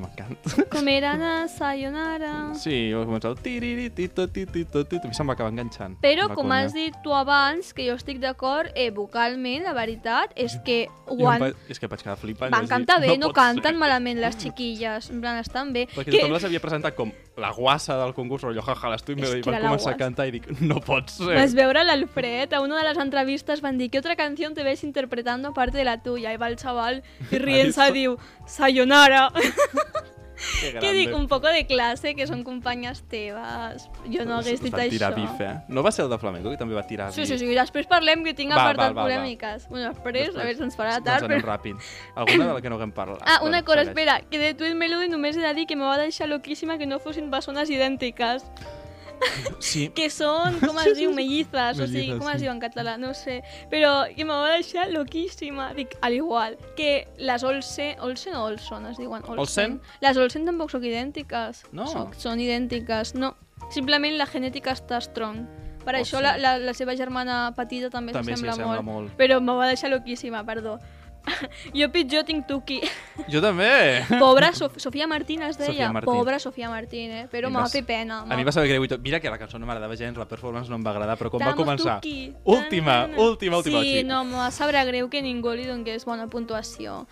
Speaker 3: m'encanta.
Speaker 2: Com era na sayonara.
Speaker 3: Sí, jo començava... Tiriritito, titito, titito. A mi se'm va acabar enganxant.
Speaker 2: Però,
Speaker 3: Em va
Speaker 2: com
Speaker 3: collar.
Speaker 2: has dit tu abans, que jo estic d'acord, eh, vocalment, la veritat és que
Speaker 3: Jo em
Speaker 2: One
Speaker 3: va- És que vaig quedar flipant.
Speaker 2: van
Speaker 3: vaig dir,
Speaker 2: cantar bé, ¿eh? no
Speaker 3: pot ser". Pues
Speaker 2: canten malament les xiquilles, en plan, estan bé.
Speaker 3: Perquè
Speaker 2: Que-
Speaker 3: tothom la s'havia presentat com la guassa del concurs, rotllo, jaja, l'estuc,
Speaker 2: És
Speaker 3: i
Speaker 2: que
Speaker 3: van
Speaker 2: era la
Speaker 3: començar a
Speaker 2: guasa.
Speaker 3: cantar i dic, no pot ser.
Speaker 2: Vas veure l'Alfred, a una de les entrevistes van dir que otra canción te ves interpretando aparte de la tuya, i va el xaval i rient-se
Speaker 3: Eso.
Speaker 2: diu Sayonara,
Speaker 3: Que
Speaker 2: que dic un poco de classe, que són companyes teves jo no hagués dit això
Speaker 3: Tirar bif, eh? No va ser el de Flamengo, que també va tirar
Speaker 2: sí, sí, sí, després parlem que tinc
Speaker 3: Va, va,
Speaker 2: apartat
Speaker 3: va, va.
Speaker 2: polèmiques bueno, després,
Speaker 3: Després.
Speaker 2: a veure si ens farà
Speaker 3: Doncs
Speaker 2: tard
Speaker 3: anem
Speaker 2: però...
Speaker 3: ràpid. Alguna de la que no haguem parlat.
Speaker 2: Ah, una
Speaker 3: Bueno,
Speaker 2: cosa,
Speaker 3: segueix.
Speaker 2: espera, que de Twin Melody només he de dir que me va deixar loquíssima que no fossin persones idèntiques,
Speaker 3: Sí,
Speaker 2: que són, com es diu, mellizas, o sigui,
Speaker 3: Mellizas,
Speaker 2: com es
Speaker 3: sí.
Speaker 2: diu en català, no ho sé, però que me va deixar loquíssima, dic, al igual, que les Olsen, Olsen o Olson es diuen, Olsen,
Speaker 3: Olsen?
Speaker 2: les Olsen tampoc són idèntiques,
Speaker 3: No.
Speaker 2: Soc- són idèntiques, no, simplement la genètica està strong, per
Speaker 3: Olsen.
Speaker 2: això la, la, la seva germana petita també,
Speaker 3: També s'hi
Speaker 2: s'assembla
Speaker 3: sembla
Speaker 2: molt,
Speaker 3: molt.
Speaker 2: però me va deixar loquíssima, perdó. jo pitjor tinc Tuki.
Speaker 3: Jo també.
Speaker 2: Pobra Sof Sofia Martín es
Speaker 3: Sofia
Speaker 2: deia.
Speaker 3: Martín.
Speaker 2: Pobra Sofia Martín, eh? Però
Speaker 3: I
Speaker 2: m'ha
Speaker 3: vas-
Speaker 2: fet pena.
Speaker 3: A mi em va saber greu i tot. Mira que la cançó no m'agradava gens, la performance no em va agradar, però com va
Speaker 2: T'amo,
Speaker 3: començar...
Speaker 2: Tuki.
Speaker 3: Última,
Speaker 2: Tanana.
Speaker 3: última, última.
Speaker 2: Sí,
Speaker 3: aquí.
Speaker 2: no, me sabrà greu que ningú li donés bona puntuació.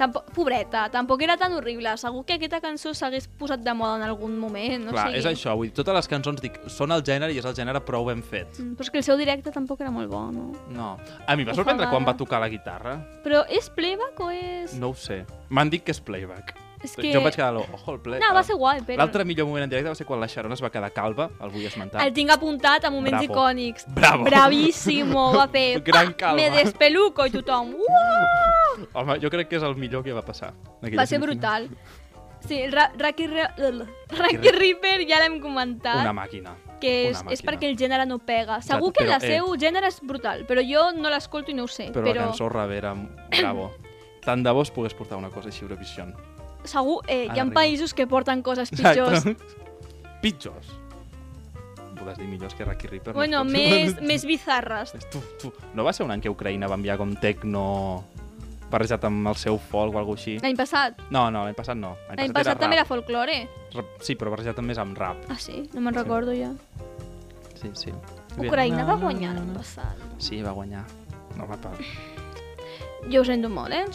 Speaker 2: Tampoc, pobreta, tampoc era tan horrible. Segur que aquesta cançó s'hagués posat de moda en algun moment. No
Speaker 3: Clar,
Speaker 2: sé.
Speaker 3: és això, vull dir, totes les cançons dic, són el gènere i és el gènere prou ben fet.
Speaker 2: Mm, Però és que el seu directe tampoc era molt bo, no?
Speaker 3: No. A mi em va sorprendre
Speaker 2: Ofegada.
Speaker 3: quan va tocar la guitarra.
Speaker 2: Però és playback o és...
Speaker 3: No ho sé. M'han dit que és playback.
Speaker 2: és que...
Speaker 3: Jo em vaig quedar, lo, ojo, el playback.
Speaker 2: No, va ser guai, però...
Speaker 3: L'altre millor moment en directe va ser quan la Sharon es va quedar calva, el vull esmentar.
Speaker 2: El tinc apuntat a moments
Speaker 3: Bravo.
Speaker 2: icònics.
Speaker 3: Bravo.
Speaker 2: Bravíssimo, va fer...
Speaker 3: Gran
Speaker 2: "Pa,
Speaker 3: calma."
Speaker 2: Me despeluco i tothom... Uah!
Speaker 3: Home, jo crec que és el millor que va passar. en aquella
Speaker 2: Va ser
Speaker 3: semifinal.
Speaker 2: brutal. Sí, el Ra- Raki, Re- Raki Reaper ja l'hem comentat.
Speaker 3: Una màquina.
Speaker 2: que és,
Speaker 3: Una
Speaker 2: és
Speaker 3: màquina.
Speaker 2: perquè el gènere no pega. Segur
Speaker 3: Exacte,
Speaker 2: que
Speaker 3: però,
Speaker 2: la
Speaker 3: eh.
Speaker 2: seu gènere és brutal, però jo no l'escolto i no ho sé.
Speaker 3: Però, la cançó Rivera, bravo. Tant de bo es pogués portar una cosa així a Eurovision.
Speaker 2: Segur, eh, hi
Speaker 3: Ara
Speaker 2: ha
Speaker 3: arriba.
Speaker 2: països que porten coses pitjors.
Speaker 3: Pitjors. Podràs dir millors que Rocky Reaper. no
Speaker 2: Bueno,
Speaker 3: es pot.
Speaker 2: més, més bizarres.
Speaker 3: És Tu, tu. No va ser un any que Ucraïna va enviar com tecno barrejat amb el seu folk o alguna cosa així?
Speaker 2: L'any passat.
Speaker 3: No, no, l'any passat no.
Speaker 2: L'any passat també era
Speaker 3: rap.
Speaker 2: folklore.
Speaker 3: Rap- Sí, però barrejat més amb rap.
Speaker 2: Ah, sí? No me'n
Speaker 3: Sí.
Speaker 2: recordo ja.
Speaker 3: Sí, sí.
Speaker 2: Ucraïna va
Speaker 3: Na, na,
Speaker 2: guanyar
Speaker 3: na,
Speaker 2: l'any
Speaker 3: na.
Speaker 2: passat.
Speaker 3: Sí, va guanyar. No, va, pa.
Speaker 2: Jo ho sento molt, eh?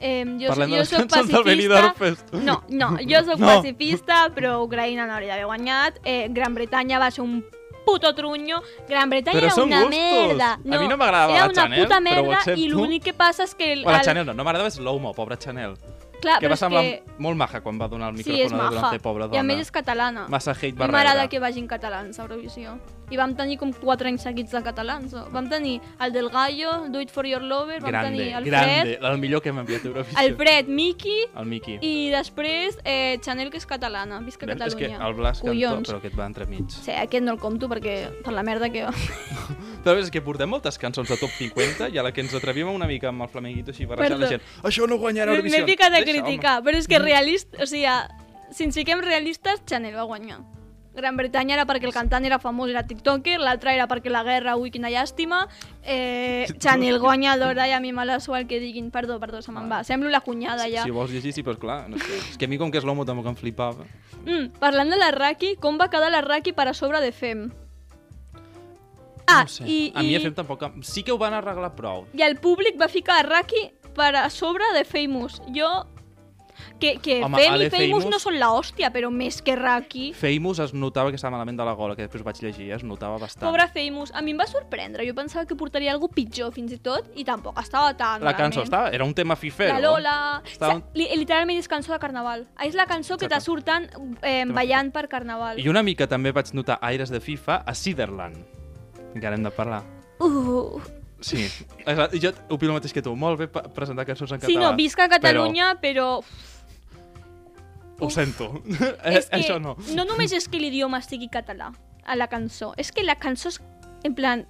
Speaker 2: eh jo,
Speaker 3: Parlem de
Speaker 2: jo
Speaker 3: les
Speaker 2: soc
Speaker 3: cançons
Speaker 2: pacifista.
Speaker 3: del Benidorm Fest.
Speaker 2: No, no, jo sóc
Speaker 3: No.
Speaker 2: pacifista, però Ucraïna no hauria d'haver guanyat. Eh, Gran Bretanya va ser un puto trunyo. Gran Bretanya
Speaker 3: Però
Speaker 2: era
Speaker 3: són
Speaker 2: una
Speaker 3: gustos.
Speaker 2: merda.
Speaker 3: A mi no m'agradava
Speaker 2: era
Speaker 3: la
Speaker 2: una
Speaker 3: Chanel,
Speaker 2: puta
Speaker 3: però ho
Speaker 2: merda i
Speaker 3: accepto.
Speaker 2: l'únic que passa és que... El,
Speaker 3: O la Chanel no, no m'agradava Slow-Mo, pobra Chanel.
Speaker 2: clar,
Speaker 3: que
Speaker 2: Ah, però
Speaker 3: va
Speaker 2: és
Speaker 3: semblar
Speaker 2: que...
Speaker 3: molt maja quan va donar el
Speaker 2: Sí, és
Speaker 3: micròfon a la
Speaker 2: maja.
Speaker 3: Dolce, pobra
Speaker 2: I
Speaker 3: dona.
Speaker 2: a més és catalana.
Speaker 3: Massa hate
Speaker 2: I
Speaker 3: va
Speaker 2: m'agrada
Speaker 3: rebre.
Speaker 2: que vagin catalans a Eurovisió. I vam tenir com 4 anys seguits de catalans. no? Vam tenir el del Gallo, Do It For Your Lover, vam
Speaker 3: Grande,
Speaker 2: tenir el
Speaker 3: grande, el millor que m'ha enviat a
Speaker 2: Fred,
Speaker 3: Eurovisió.
Speaker 2: el Fred, Miki,
Speaker 3: El Miki.
Speaker 2: i després eh, Chanel, que és catalana. Visca
Speaker 3: Veus? És que
Speaker 2: Catalunya.
Speaker 3: el Blas cantó,
Speaker 2: Collons.
Speaker 3: però aquest va entremig.
Speaker 2: Sí, aquest no el compto perquè per la merda que...
Speaker 3: Però és que portem moltes cançons de top 50 i a la que ens atrevíem una mica amb el flamenguito així barrejant
Speaker 2: Perdó.
Speaker 3: la gent. Això no guanyarà
Speaker 2: M'he
Speaker 3: Eurovisió.
Speaker 2: ficat a
Speaker 3: Deixa, home. Mm.
Speaker 2: criticar, però és que realista, o sigui, si ens fiquem realistes, Chanel va guanyar. Gran Bretanya era perquè el cantant era famós, era tiktoker, l'altre era perquè la guerra, ui, quina llàstima. Eh, Chanel guanyadora i a mi mala sual que diguin, perdó, perdó, se me'n va. Semblo la cunyada ja.
Speaker 3: Si vols llegir, sí, però clar, no sé. És que a mi com que és l'homo tampoc em flipava.
Speaker 2: Mm, parlant de la Raki, com va quedar la Raki per a sobre de Fem? Ah,
Speaker 3: no sé.
Speaker 2: i,
Speaker 3: A mi
Speaker 2: i,
Speaker 3: a Fem tampoc... em- Sí que ho van arreglar prou.
Speaker 2: i el públic va ficar a Raki per a sobre de Famous. Jo Que, que
Speaker 3: Home,
Speaker 2: Fem
Speaker 3: Ale
Speaker 2: i Famous
Speaker 3: Famous-
Speaker 2: no són la hòstia, però més que Raki...
Speaker 3: Famous es notava que estava malament de la gola, que després vaig llegir, eh? es notava bastant.
Speaker 2: Pobre Famous, a mi em va sorprendre. Jo pensava que portaria algú pitjor, fins i tot, i tampoc estava tan
Speaker 3: la cançó
Speaker 2: realment.
Speaker 3: estava, era un tema fifero.
Speaker 2: La Lola...
Speaker 3: Estava-
Speaker 2: Sa- li- Literalment és cançó de carnaval. És la cançó que te
Speaker 3: Exacte.
Speaker 2: surten eh, ballant per carnaval.
Speaker 3: I una mica també vaig notar aires de FIFA a Sutherland. Encara hem de parlar.
Speaker 2: Uh.
Speaker 3: Sí, exacte. Jo opino el mateix que tu. Molt bé pa- presentar cançons en català.
Speaker 2: Sí, no, visca Catalunya, però...
Speaker 3: Però ho sento. Eh,
Speaker 2: és que
Speaker 3: Això no.
Speaker 2: no només és que l'idioma estigui català a la cançó, és que la cançó és, en plan,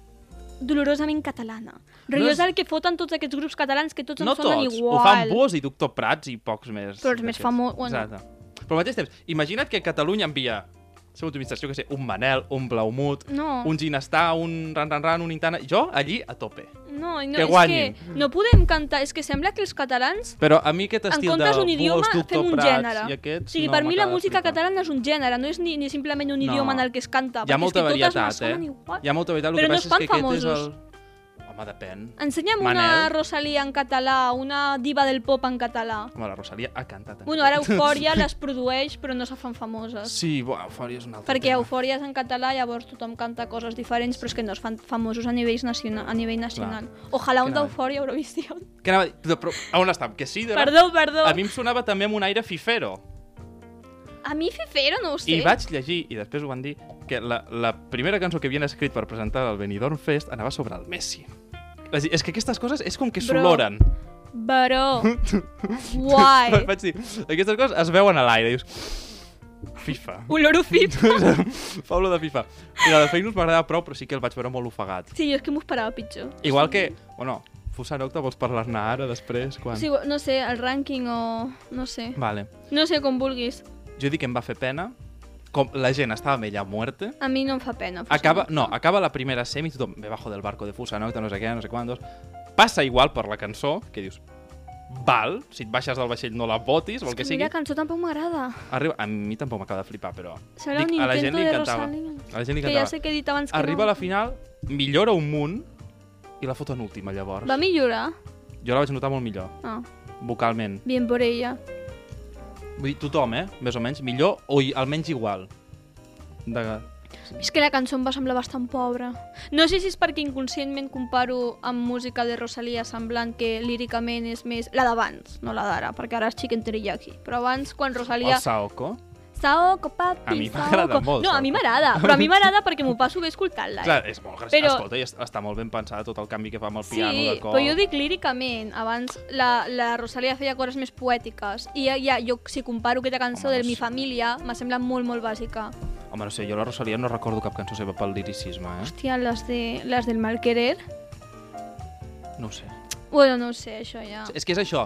Speaker 2: dolorosament catalana. Rotllo
Speaker 3: No
Speaker 2: no és...
Speaker 3: és-
Speaker 2: el que foten tots aquests grups catalans, que tots
Speaker 3: no
Speaker 2: Doncs em sonen
Speaker 3: tots.
Speaker 2: igual.
Speaker 3: Ho fan Bus i Doctor Prats i pocs més.
Speaker 2: Però els més
Speaker 3: d'aquests.
Speaker 2: famosos- bueno.
Speaker 3: Exacte. Però al mateix temps, imagina't que Catalunya envia seu optimització, que sé, un Manel, un Blaumut,
Speaker 2: No.
Speaker 3: un Ginestà, un Ran Ran Ran, un Intana... Jo, allí, a tope.
Speaker 2: No, no
Speaker 3: Que
Speaker 2: és
Speaker 3: guanyin.
Speaker 2: que no podem cantar, és que sembla que els catalans
Speaker 3: Però a mi aquest
Speaker 2: en
Speaker 3: estil de
Speaker 2: comptes d'un
Speaker 3: Bus,
Speaker 2: idioma
Speaker 3: Doctor
Speaker 2: fem un
Speaker 3: Prats
Speaker 2: gènere.
Speaker 3: i aquests...
Speaker 2: o sigui,
Speaker 3: no
Speaker 2: per mi la
Speaker 3: m'acaba de
Speaker 2: música
Speaker 3: flipar.
Speaker 2: catalana és un gènere, no és ni, ni simplement un
Speaker 3: No.
Speaker 2: idioma en el que es canta.
Speaker 3: Hi ha
Speaker 2: perquè
Speaker 3: molta
Speaker 2: és que
Speaker 3: varietat,
Speaker 2: totes me
Speaker 3: eh?
Speaker 2: sonen Igual.
Speaker 3: Hi ha molta varietat, el
Speaker 2: Però
Speaker 3: que
Speaker 2: no es
Speaker 3: passa
Speaker 2: fan
Speaker 3: és que aquest és el...
Speaker 2: famosos.
Speaker 3: Home, depèn.
Speaker 2: Ensenya'm una
Speaker 3: Manel.
Speaker 2: Rosalía en català, una diva del pop en català.
Speaker 3: Home, la Rosalia ha cantat. en
Speaker 2: Bueno, ara
Speaker 3: català.
Speaker 2: Eufòria les produeix, però no se fan famoses.
Speaker 3: Sí, bueno, Eufòria és un altre
Speaker 2: Perquè
Speaker 3: tema.
Speaker 2: Eufòria és en català, llavors tothom canta coses diferents, però és que no es fan famosos a nivell nacional. A nivell nacional. Ojalà un
Speaker 3: Clar.
Speaker 2: d'Eufòria a Eurovisió.
Speaker 3: Que anava a dir, però, però on estàvem? Que sí, de...
Speaker 2: Perdó, perdó.
Speaker 3: A mi em sonava també amb un aire fifero.
Speaker 2: a mi Fifero no ho sé.
Speaker 3: I vaig llegir, i després ho van dir, que la, la primera cançó que havien escrit per presentar el Benidorm Fest anava sobre el Messi. És, a dir, és que aquestes coses és com que
Speaker 2: Bro.
Speaker 3: s'oloren.
Speaker 2: Però...
Speaker 3: Vaig
Speaker 2: Guai.
Speaker 3: vaig dir, aquestes coses es veuen a l'aire. i Dius, FIFA.
Speaker 2: Oloro fit.
Speaker 3: Fa olor de FIFA. I la de Feinus m'agradava prou, però sí que el vaig veure molt ofegat.
Speaker 2: Sí, jo és que m'ho esperava pitjor.
Speaker 3: Igual que, o no, Fusa Nocta vols parlar-ne ara, després, quan...
Speaker 2: Sí, no sé, el rànquing o... No sé.
Speaker 3: Vale.
Speaker 2: No sé com vulguis.
Speaker 3: Jo dic que em va fer pena, com la gent estava amb ella a muerte,
Speaker 2: A mi no em fa pena. Fusa
Speaker 3: acaba,
Speaker 2: Nocta.
Speaker 3: no, acaba la primera semi, tothom me bajo del barco de Fusa Nocta, no sé què, no sé quantos, passa igual per la cançó, que dius, val, si et baixes del vaixell no la botis, o el
Speaker 2: És
Speaker 3: que
Speaker 2: que
Speaker 3: sigui,
Speaker 2: mira, cançó tampoc m'agrada.
Speaker 3: arriba, a mi tampoc m'acaba de flipar, però
Speaker 2: Serà
Speaker 3: dic,
Speaker 2: un
Speaker 3: a la gent
Speaker 2: intento
Speaker 3: li
Speaker 2: de
Speaker 3: encantava.
Speaker 2: Rosalía.
Speaker 3: A la gent li
Speaker 2: Que ja
Speaker 3: encantava.
Speaker 2: sé que he dit abans que no.
Speaker 3: Arriba a la final, millora un munt, i la foten última, llavors.
Speaker 2: Va millorar?
Speaker 3: Jo la vaig notar molt millor,
Speaker 2: Ah,
Speaker 3: vocalment.
Speaker 2: bien por ella.
Speaker 3: Vull dir, tothom, eh? Més o menys, millor o i- almenys igual. De...
Speaker 2: És que la cançó em va semblar bastant pobra. No sé si és perquè inconscientment comparo amb música de Rosalia semblant que líricament és més... La d'abans, no la d'ara, perquè ara és Chicken Teriyaki. Però abans, quan
Speaker 3: El
Speaker 2: Rosalia...
Speaker 3: Saoko.
Speaker 2: Saoko, papi,
Speaker 3: A mi m'agrada
Speaker 2: Saoko...
Speaker 3: molt,
Speaker 2: No, a
Speaker 3: Saoko.
Speaker 2: mi m'agrada, però a mi m'agrada perquè m'ho passo bé escoltant-la. eh?
Speaker 3: Clar, és molt graciós. Però...
Speaker 2: Però-
Speaker 3: Escolta, i es- està molt ben pensat tot el canvi que fa amb el
Speaker 2: Sí,
Speaker 3: piano de cop.
Speaker 2: però jo dic líricament. Abans la, la Rosalia feia coses més poètiques. I ja, ja jo, si comparo aquesta cançó
Speaker 3: Home,
Speaker 2: de
Speaker 3: no
Speaker 2: Mi
Speaker 3: sé.
Speaker 2: Família, m'ha semblat molt, molt bàsica.
Speaker 3: Home, no sé, jo la Rosalia no recordo cap cançó seva pel liricisme, eh?
Speaker 2: Hòstia, les, de, les del mal querer...
Speaker 3: No ho sé.
Speaker 2: Bueno, no ho sé, això ja.
Speaker 3: És que és això,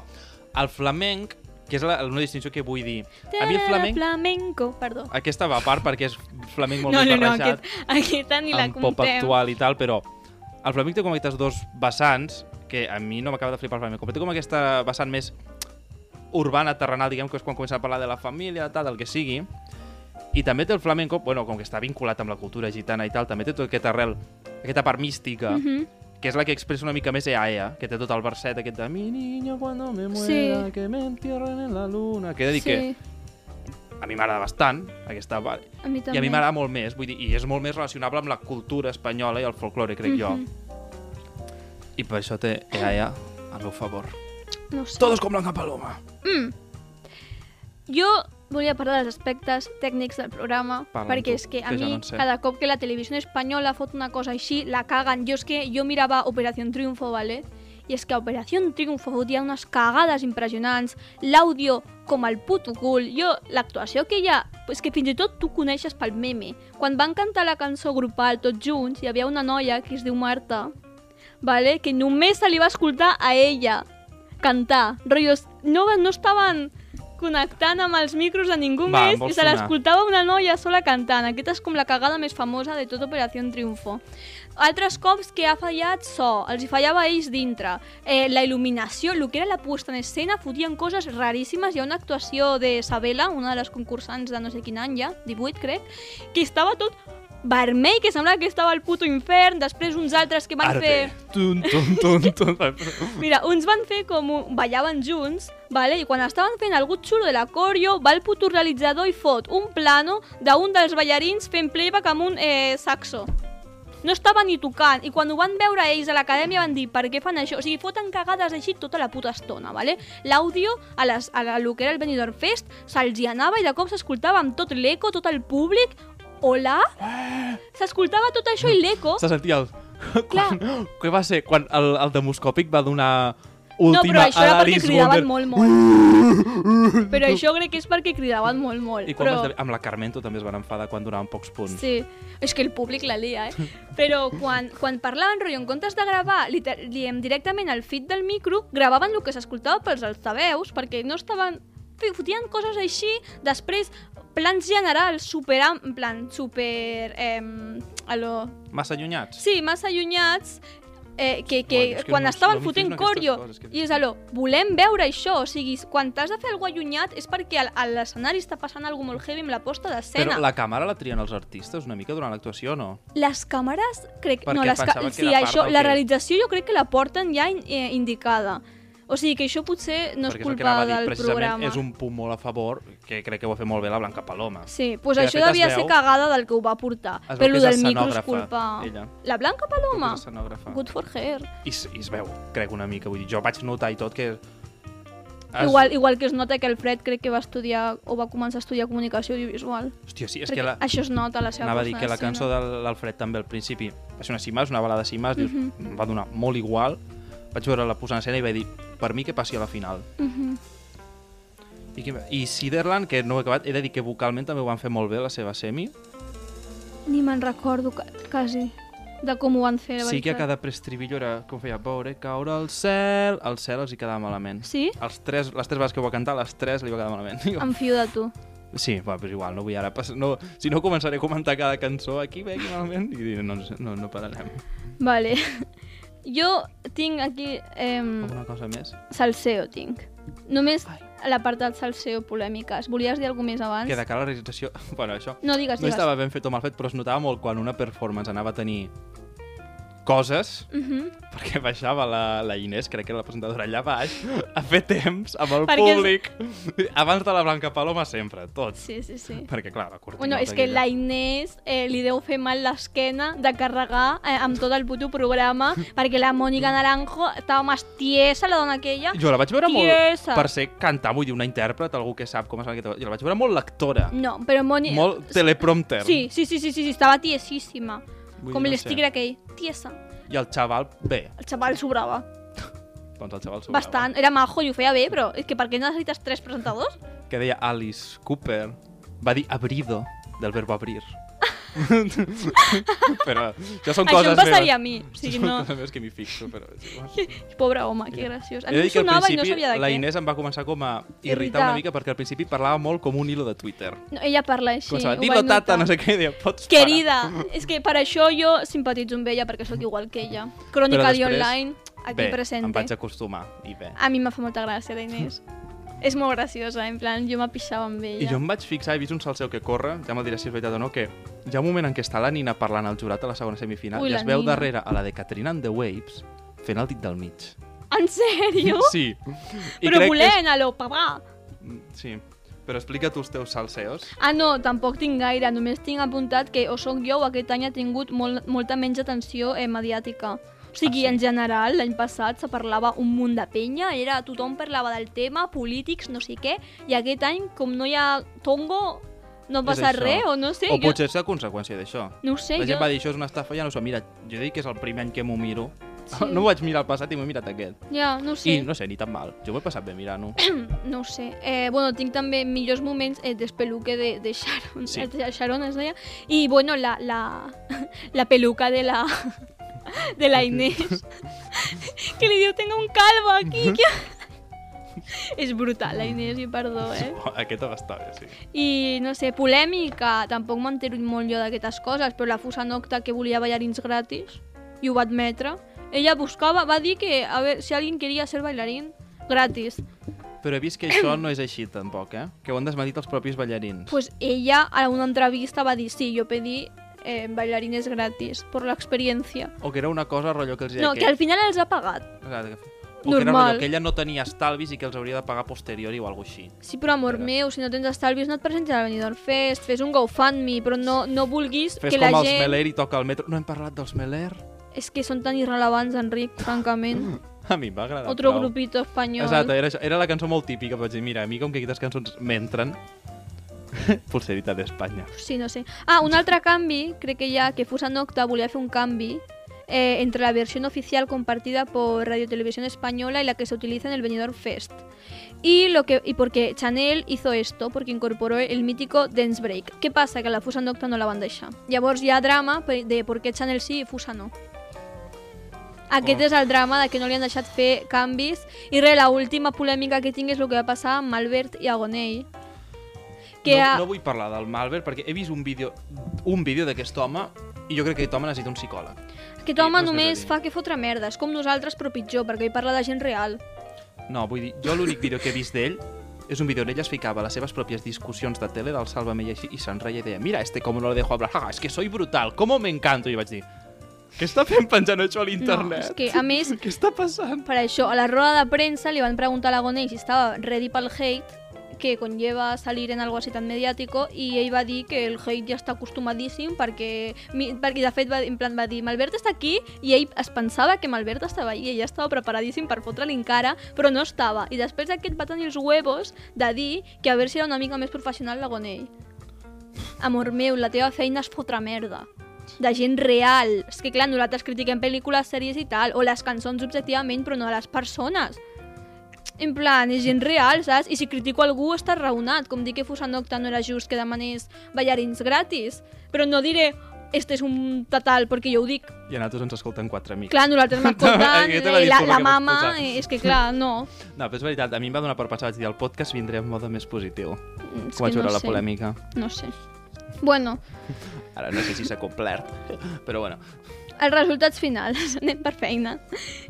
Speaker 3: el flamenc, que és la, una distinció que vull dir. A mi el flamenc,
Speaker 2: Flamenco, Ah, perdó.
Speaker 3: aquesta va a part perquè és flamenc molt
Speaker 2: no,
Speaker 3: més
Speaker 2: no, no,
Speaker 3: barrejat.
Speaker 2: aquest, aquesta ni la
Speaker 3: amb pop
Speaker 2: comptem.
Speaker 3: actual i tal, però el flamenc té com aquestes dos vessants que a mi no m'acaba de flipar el flamenc, té com aquesta vessant més urbana, terrenal, diguem que és quan comença a parlar de la família, tal, del que sigui, i també té el flamenco, bueno, com que està vinculat amb la cultura gitana i tal, també té tot aquest arrel, aquesta part mística,
Speaker 2: Mhm.
Speaker 3: que és la que expressa una mica més EAEA, que té tot el verset aquest de Mi niño cuando me muera,
Speaker 2: Sí.
Speaker 3: que me entierren en la luna, que he de dir
Speaker 2: Sí,
Speaker 3: que a mi m'agrada bastant aquesta part,
Speaker 2: a mi també.
Speaker 3: i a mi m'agrada molt més, vull dir, i és molt més relacionable amb la cultura espanyola i el folklore, crec
Speaker 2: Mhm.
Speaker 3: jo. I per això té E EAEA al meu favor.
Speaker 2: No ho sé.
Speaker 3: Todos con Blanca Paloma.
Speaker 2: Jo volia parlar dels aspectes tècnics del programa,
Speaker 3: Parla'm
Speaker 2: perquè
Speaker 3: tu,
Speaker 2: és que a
Speaker 3: que jo
Speaker 2: mi,
Speaker 3: no en sé.
Speaker 2: cada cop que la televisió espanyola fot una cosa així, la caguen. Jo és que jo mirava Operación Triunfo, ¿vale? I és que a Operación Triunfo fotia unes cagades impressionants, l'àudio com el puto cul. Jo, l'actuació que hi ha, és que fins i tot tu coneixes pel meme. Quan van cantar la cançó grupal tots junts, hi havia una noia que es diu Marta, ¿vale? que només se li va escoltar a ella cantar. Rollos, no, va- no estaven connectant amb els micros de ningú
Speaker 3: Va, em
Speaker 2: més
Speaker 3: vol
Speaker 2: i se
Speaker 3: sonar.
Speaker 2: l'escoltava una noia sola cantant. Aquesta és com la cagada més famosa de tota Operació Triunfo. Altres cops que ha fallat so, els hi fallava a ells dintre. Eh, la il·luminació, el que era la puesta en escena, fotien coses raríssimes. Hi ha una actuació de Sabela, una de les concursants de no sé quin any ja, 18 crec, que estava tot vermell, que semblava que estava al puto infern, després uns altres que van fer...
Speaker 3: Tun, tun, tun, tun.
Speaker 2: Mira, uns van fer com... un- ballaven junts, vale? i quan estaven fent algú xulo de la coreo, va el puto realitzador i fot un plano d'un dels ballarins fent playback amb un eh, saxo. No estava ni tocant, i quan ho van veure ells a l'acadèmia van dir per què fan això? O sigui, foten cagades així tota la puta estona, vale? L'àudio, a, les, a la, lo que era el Benidorm Fest, se'ls hi anava i de cop s'escoltava amb tot l'eco, tot el públic, hola? S'escoltava tot això i l'eco...
Speaker 3: Se sentia el...
Speaker 2: Clar.
Speaker 3: Quan, què va ser? Quan el, el demoscòpic va donar última
Speaker 2: No, però això
Speaker 3: a
Speaker 2: era perquè
Speaker 3: l'Alice
Speaker 2: cridaven
Speaker 3: Wonder.
Speaker 2: molt, molt. Però això crec que és perquè cridaven molt, molt.
Speaker 3: I quan
Speaker 2: però...
Speaker 3: però... amb la Carmento també es van enfadar quan donaven pocs punts.
Speaker 2: Sí, és que el públic la lia, eh? Però quan, quan parlaven, rotllo, en comptes de gravar liter- diem, directament al feed del micro, gravaven el que s'escoltava pels altaveus, perquè no estaven... fi- Fotien coses així, després plans generals super... am- en plan, super... Ehm, a lo...
Speaker 3: Massa allunyats.
Speaker 2: Sí, massa allunyats, eh, que, que,
Speaker 3: Ai, és que
Speaker 2: quan
Speaker 3: no-
Speaker 2: estaven
Speaker 3: no em
Speaker 2: fotent
Speaker 3: fixo en aquestes
Speaker 2: coreo
Speaker 3: coses que
Speaker 2: i és allò, volem veure això o sigui, quan t'has de fer alguna allunyat és perquè al- a l'escenari està passant alguna molt heavy amb la posta d'escena
Speaker 3: Però la càmera la trien els artistes una mica durant l'actuació, no?
Speaker 2: les càmeres, crec...
Speaker 3: Perquè
Speaker 2: no, les ca-
Speaker 3: pensava que
Speaker 2: sí,
Speaker 3: era part
Speaker 2: això,
Speaker 3: del
Speaker 2: la
Speaker 3: que-
Speaker 2: realització jo crec que la porten ja in, eh, indicada. O sigui que això potser no és
Speaker 3: Perquè és el que
Speaker 2: culpa
Speaker 3: anava a dir,
Speaker 2: del
Speaker 3: precisament
Speaker 2: programa.
Speaker 3: és un punt molt a favor, que crec que ho ha fet molt bé la Blanca Paloma.
Speaker 2: Sí, doncs pues
Speaker 3: que de
Speaker 2: això
Speaker 3: fet es
Speaker 2: devia
Speaker 3: veu-
Speaker 2: ser cagada del que ho va portar.
Speaker 3: Es veu
Speaker 2: Però
Speaker 3: que
Speaker 2: lo
Speaker 3: és
Speaker 2: del micro és
Speaker 3: escenògrafa,
Speaker 2: culpa...
Speaker 3: ella.
Speaker 2: La Blanca Paloma?
Speaker 3: És escenògrafa.
Speaker 2: Good for her.
Speaker 3: I, s- I es veu, crec, una mica. Vull dir, jo vaig notar i tot que... Es...
Speaker 2: Igual, igual que es nota que el Fred crec que va estudiar o va començar a estudiar comunicació audiovisual.
Speaker 3: Hòstia, sí, és
Speaker 2: Perquè
Speaker 3: que la...
Speaker 2: Això es nota a la seva
Speaker 3: Anava a dir
Speaker 2: posta
Speaker 3: que la
Speaker 2: d'escena.
Speaker 3: cançó de l'Alfred també al principi va ser una cimas, una balada cimas, dius,
Speaker 2: Mhm.
Speaker 3: em va donar molt igual. Vaig veure-la posant en escena i vaig dir, per mi que passi a la final.
Speaker 2: Mhm.
Speaker 3: I, que, I Siderland, que no ho he acabat, he de dir que vocalment també ho van fer molt bé, la seva semi.
Speaker 2: Ni me'n recordo, ca quasi, de com ho van fer. la
Speaker 3: Sí que a
Speaker 2: veritat.
Speaker 3: cada preestribillo era com feia veure caure al cel, al cel els hi quedava malament.
Speaker 2: Sí?
Speaker 3: Els tres, les tres vegades que ho va cantar, les tres li va quedar malament.
Speaker 2: Em fio de tu.
Speaker 3: Sí, va, però és igual, no vull ara passar... No, si no, començaré a comentar cada cançó aquí, bé, aquí malament, i dir, no, no, no pararem.
Speaker 2: Vale. Jo tinc aquí... Eh,
Speaker 3: Alguna cosa més?
Speaker 2: salseo tinc. Només
Speaker 3: Ai.
Speaker 2: l'apartat salseo polèmiques. Volies dir alguna més abans?
Speaker 3: Que de cara a la realització... Bueno, això...
Speaker 2: No digues,
Speaker 3: No
Speaker 2: digues.
Speaker 3: estava ben fet o mal fet, però es notava molt quan una performance anava a tenir coses,
Speaker 2: Mhm.
Speaker 3: perquè baixava la, la Inés, crec que era la presentadora allà baix, a fer temps amb el
Speaker 2: Perquè és-
Speaker 3: públic. Abans de la Blanca Paloma sempre, tots.
Speaker 2: Sí, sí, sí.
Speaker 3: Perquè, clar, la cortina...
Speaker 2: Bueno, és que la Inés eh, li deu fer mal l'esquena de carregar eh, amb tot el puto programa perquè la Mònica Naranjo estava més tiesa, la dona aquella.
Speaker 3: Jo la vaig veure molt...
Speaker 2: Tiesa.
Speaker 3: Per ser cantar, vull dir, una intèrpret, algú que sap com es fa aquesta... Jo la vaig veure molt lectora.
Speaker 2: No, però Moni...
Speaker 3: Molt teleprompter.
Speaker 2: Mm, Sí, sí, sí, sí, sí, sí estava tiesíssima.
Speaker 3: Vull
Speaker 2: Com
Speaker 3: dir, no sé.
Speaker 2: l'estigre aquell. Tiesa.
Speaker 3: I el xaval, bé,
Speaker 2: El xaval sobrava.
Speaker 3: doncs el xaval sobrava.
Speaker 2: Bastant. Era majo i ho feia bé, però és que per què necessites tres presentadors?
Speaker 3: Que deia Alice Cooper. Va dir abrido, del verbo abrir. però això són
Speaker 2: Això
Speaker 3: coses
Speaker 2: em passaria a
Speaker 3: meves.
Speaker 2: mi. O sigui,
Speaker 3: Són
Speaker 2: no...
Speaker 3: coses meves que m'hi fixo, però... és igual.
Speaker 2: Pobre home, que graciós. A
Speaker 3: He de
Speaker 2: mi
Speaker 3: dir
Speaker 2: em
Speaker 3: que al
Speaker 2: sonava i no
Speaker 3: principi
Speaker 2: sabia de
Speaker 3: la
Speaker 2: què.
Speaker 3: Inés em va començar com a irritar,
Speaker 2: Irritar.
Speaker 3: una mica perquè al principi parlava molt com un hilo de Twitter.
Speaker 2: No, ella parla així.
Speaker 3: Començava,
Speaker 2: ho
Speaker 3: dilo
Speaker 2: vaig
Speaker 3: tata,
Speaker 2: notar.
Speaker 3: no sé què, i deia, pots parar".
Speaker 2: Querida, és que per això jo simpatitzo amb ella, perquè sóc igual que ella. Crònica
Speaker 3: Però
Speaker 2: de
Speaker 3: després-
Speaker 2: online, aquí
Speaker 3: bé,
Speaker 2: presente.
Speaker 3: em vaig acostumar, i bé.
Speaker 2: A mi m'ha fa molta gràcia, la Inés. és molt graciosa, en plan, jo m'apixava amb ella.
Speaker 3: I jo em vaig fixar, he vist un salseu que corre, ja me'l diré si és veritat o no, que hi ha un moment en què està la Nina parlant al jurat a la segona semifinal
Speaker 2: Ui,
Speaker 3: i
Speaker 2: la
Speaker 3: es veu
Speaker 2: Nina.
Speaker 3: darrere a la de Katrina and the Waves fent el dit del mig.
Speaker 2: En sèrio?
Speaker 3: Sí. I
Speaker 2: Però
Speaker 3: crec que
Speaker 2: volent, alò, papà.
Speaker 3: És... mm, Sí. Però explica tu els teus salseos.
Speaker 2: Ah, no, tampoc tinc gaire. Només tinc apuntat que o sóc jo o aquest any ha tingut molt, molta menys atenció eh, mediàtica. O sigui,
Speaker 3: Ah, sí?
Speaker 2: en general, l'any passat se parlava un munt de penya, era tothom parlava del tema, polítics, no sé què, i aquest any, com no hi ha tongo, no ha
Speaker 3: És
Speaker 2: passat
Speaker 3: això.
Speaker 2: res, o no sé.
Speaker 3: o potser és la conseqüència d'això.
Speaker 2: Jo, no ho sé,
Speaker 3: La gent
Speaker 2: jo,
Speaker 3: va dir, això és una estafa, ja no ho sé. Mira, jo dic que és el primer any que m'ho miro.
Speaker 2: Sí.
Speaker 3: No ho vaig mirar al passat i m'he mirat aquest.
Speaker 2: ja, no ho sé.
Speaker 3: I no sé, ni tan mal. Jo m'ho he passat bé mirant-ho.
Speaker 2: No ho sé. Eh, bueno, tinc també millors moments eh, d'espeluque de, de Sharon.
Speaker 3: Sí.
Speaker 2: Sí. De Sharon es deia. I, bueno, la, la, la peluca de la, de la Inés. que li diu, tengo un calvo aquí. Que... És brutal, la Inés, i perdó, eh?
Speaker 3: Ah, Aquest ha d'estar bé, sí.
Speaker 2: I, no sé, polèmica. Tampoc m'entero molt jo d'aquestes coses, però la Fusa Nocta, que volia ballarins gratis, i ho va admetre, ella buscava, va dir que a veure, si alguien queria ser bailarín, gratis.
Speaker 3: Però he vist que això no és així, tampoc, eh? Que ho han desmedit els propis ballarins.
Speaker 2: pues ella a una entrevista va dir sí, jo pedí eh, bailarines gratis por la experiencia.
Speaker 3: O que era una cosa, rotllo, que els hi
Speaker 2: No,
Speaker 3: deia
Speaker 2: que al final els ha pagat.
Speaker 3: Exacte, que... O que era
Speaker 2: Normal.
Speaker 3: rotllo, que ella no tenia estalvis i que els hauria de pagar posteriori o alguna així.
Speaker 2: Sí, però amor
Speaker 3: Era.
Speaker 2: meu, si no tens estalvis no et presentis a la Benidorm Fest, fes un GoFundMe, però no, no vulguis
Speaker 3: Fes
Speaker 2: que
Speaker 3: com
Speaker 2: la
Speaker 3: els
Speaker 2: gent...
Speaker 3: Meler i toca el metro. No hem parlat dels Meler?
Speaker 2: És que són tan irrelevants, Enric, francament.
Speaker 3: A mi em va agradar.
Speaker 2: Otro
Speaker 3: prou.
Speaker 2: grupito espanyol.
Speaker 3: Mm. Exacte, era, això- era la cançó molt típica, però vaig dir, mira, a mi com que aquestes cançons m'entren, pulserita d'Espanya.
Speaker 2: Sí, no sé. Ah, un altre canvi, crec que ja, que Fusa Nocta volia fer un canvi eh, entre la versión oficial compartida por Radio Televisión Española y la que se utiliza en el Benidorm Fest. Y, lo que, y porque Chanel hizo esto, porque incorporó el mítico Dance Break. ¿Qué pasa? Que la Fusa Nocta no la van deixar. Llavors hi ha drama pe- de por què Chanel sí i Fusa no. Aquest
Speaker 3: Oh.
Speaker 2: és el drama de que no li han deixat fer canvis. I res, l'última polèmica que tinc és el que va passar amb Malbert i Agonell. Que
Speaker 3: no,
Speaker 2: a-
Speaker 3: no vull parlar del Malver perquè he vist un vídeo un vídeo d'aquest home i jo crec que aquest home necessita un psicòleg.
Speaker 2: Aquest home
Speaker 3: no és més a
Speaker 2: només
Speaker 3: dir.
Speaker 2: fa que fotre merda, és com nosaltres però pitjor, perquè hi parla de gent real.
Speaker 3: No, vull dir, jo l'únic vídeo que he vist d'ell és un vídeo on ell es ficava a les seves pròpies discussions de tele del Sálvame i així i se'n reia i deia mira, este com no lo dejo hablar, ah, es que soy brutal, como me encanto. I vaig dir, què està fent penjant això a
Speaker 2: No, és
Speaker 3: l'internet?
Speaker 2: que, a més,
Speaker 3: Què està passant?
Speaker 2: per això, a la roda de premsa li van preguntar a l'Agonell si estava ready pel hate, que conlleva salir en algo así tan mediático, i ell va dir que el hate ja està acostumadíssim perquè, mi- perquè de fet, va, en plan, va dir Malbert està aquí, i ell es pensava que Malbert estava allà, i ell estava preparadíssim per fotre-li en cara, però no estava. I després aquest va tenir els huevos de dir que a veure si era una mica més professional l'Agonell. Amor meu, la teva feina és fotre merda. de gent real. És que clar, nosaltres critiquem pel·lícules, sèries i tal, o les cançons objectivament, però no a les persones. En plan, és gent real, saps? I si critico algú està raonat, com dir que Fusa Nocta no era just que demanés ballarins gratis. Però no diré, este és un tatal, perquè jo ho dic.
Speaker 3: I a nosaltres ens escolten quatre amics.
Speaker 2: Clar, nosaltres m'escoltant,
Speaker 3: Aquesta era la
Speaker 2: eh, la,
Speaker 3: disculpa
Speaker 2: la
Speaker 3: que vols
Speaker 2: mama,
Speaker 3: posar.
Speaker 2: eh, és que clar, no.
Speaker 3: No, però és veritat, a mi em va donar per pensar, vaig dir, el podcast vindré en mode més positiu.
Speaker 2: És
Speaker 3: Quan
Speaker 2: que no
Speaker 3: veure la
Speaker 2: sé,
Speaker 3: polèmica.
Speaker 2: no sé. Bueno,
Speaker 3: Ara no sé si s'ha complert, però bueno.
Speaker 2: Els resultats finals, anem per feina.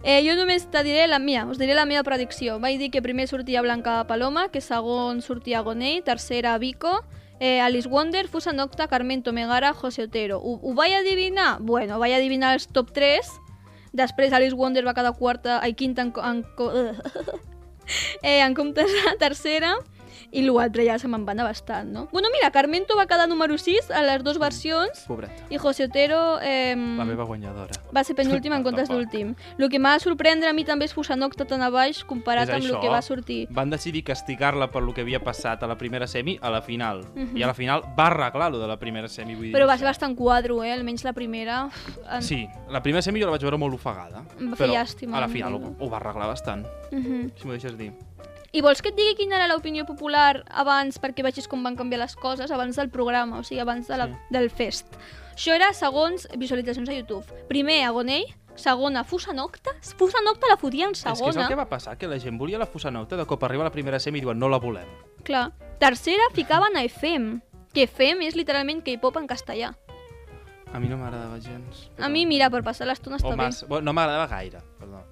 Speaker 2: Eh, jo només te diré la mia, us diré la meva predicció. Vaig dir que primer sortia Blanca Paloma, que segon sortia Gonei, tercera Vico, eh, Alice Wonder, Fusa Nocta, Carmen Tomegara, José Otero. Ho, ho vaig adivinar? Bueno, vaig adivinar els top 3, després Alice Wonder va quedar quarta, ai, quinta en, co- en, co- eh, en comptes de tercera, i l'altre ja se me'n va anar bastant, no? Bueno, mira, Carmento va quedar número 6 a les dues versions,
Speaker 3: Pobret.
Speaker 2: i José Otero... Eh,
Speaker 3: La meva guanyadora.
Speaker 2: va ser penúltim en comptes
Speaker 3: Tampoc.
Speaker 2: d'últim. El que m'ha de sorprendre a mi també és posar Nocta tan a baix comparat
Speaker 3: És
Speaker 2: amb el
Speaker 3: això.
Speaker 2: que va sortir.
Speaker 3: Van decidir castigar-la per lo que havia passat a la primera semi a la final.
Speaker 2: Mhm.
Speaker 3: I a la final va arreglar lo de la primera semi. Vull dir,
Speaker 2: Però
Speaker 3: no
Speaker 2: va
Speaker 3: sé.
Speaker 2: ser bastant quadro, eh? Almenys la primera. Uf, en-
Speaker 3: Sí, la primera semi jo la vaig veure molt ofegada.
Speaker 2: Em va fer
Speaker 3: però
Speaker 2: llàstima,
Speaker 3: a la
Speaker 2: em
Speaker 3: final ho,
Speaker 2: sembla.
Speaker 3: ho va arreglar bastant,
Speaker 2: Mhm.
Speaker 3: si m'ho deixes dir.
Speaker 2: I vols que et digui quina era l'opinió popular abans perquè vegis com van canviar les coses abans del programa, o sigui, abans de la,
Speaker 3: Sí.
Speaker 2: del fest. Això era segons visualitzacions a YouTube. Primer, Agonell, segona, Fusa Nocta. Fusa Nocta la fotien
Speaker 3: És que és el
Speaker 2: segona.
Speaker 3: que va passar, que la gent volia la fossa nota, de cop arriba la primera semi i diuen no la volem.
Speaker 2: Clar. Tercera, ficaven a FM, que FM és literalment K-pop en castellà.
Speaker 3: A mi no m'agradava gens.
Speaker 2: A mi, mira, per passar l'estona està
Speaker 3: o
Speaker 2: bé.
Speaker 3: mas... bueno, no m'agradava gaire, perdó.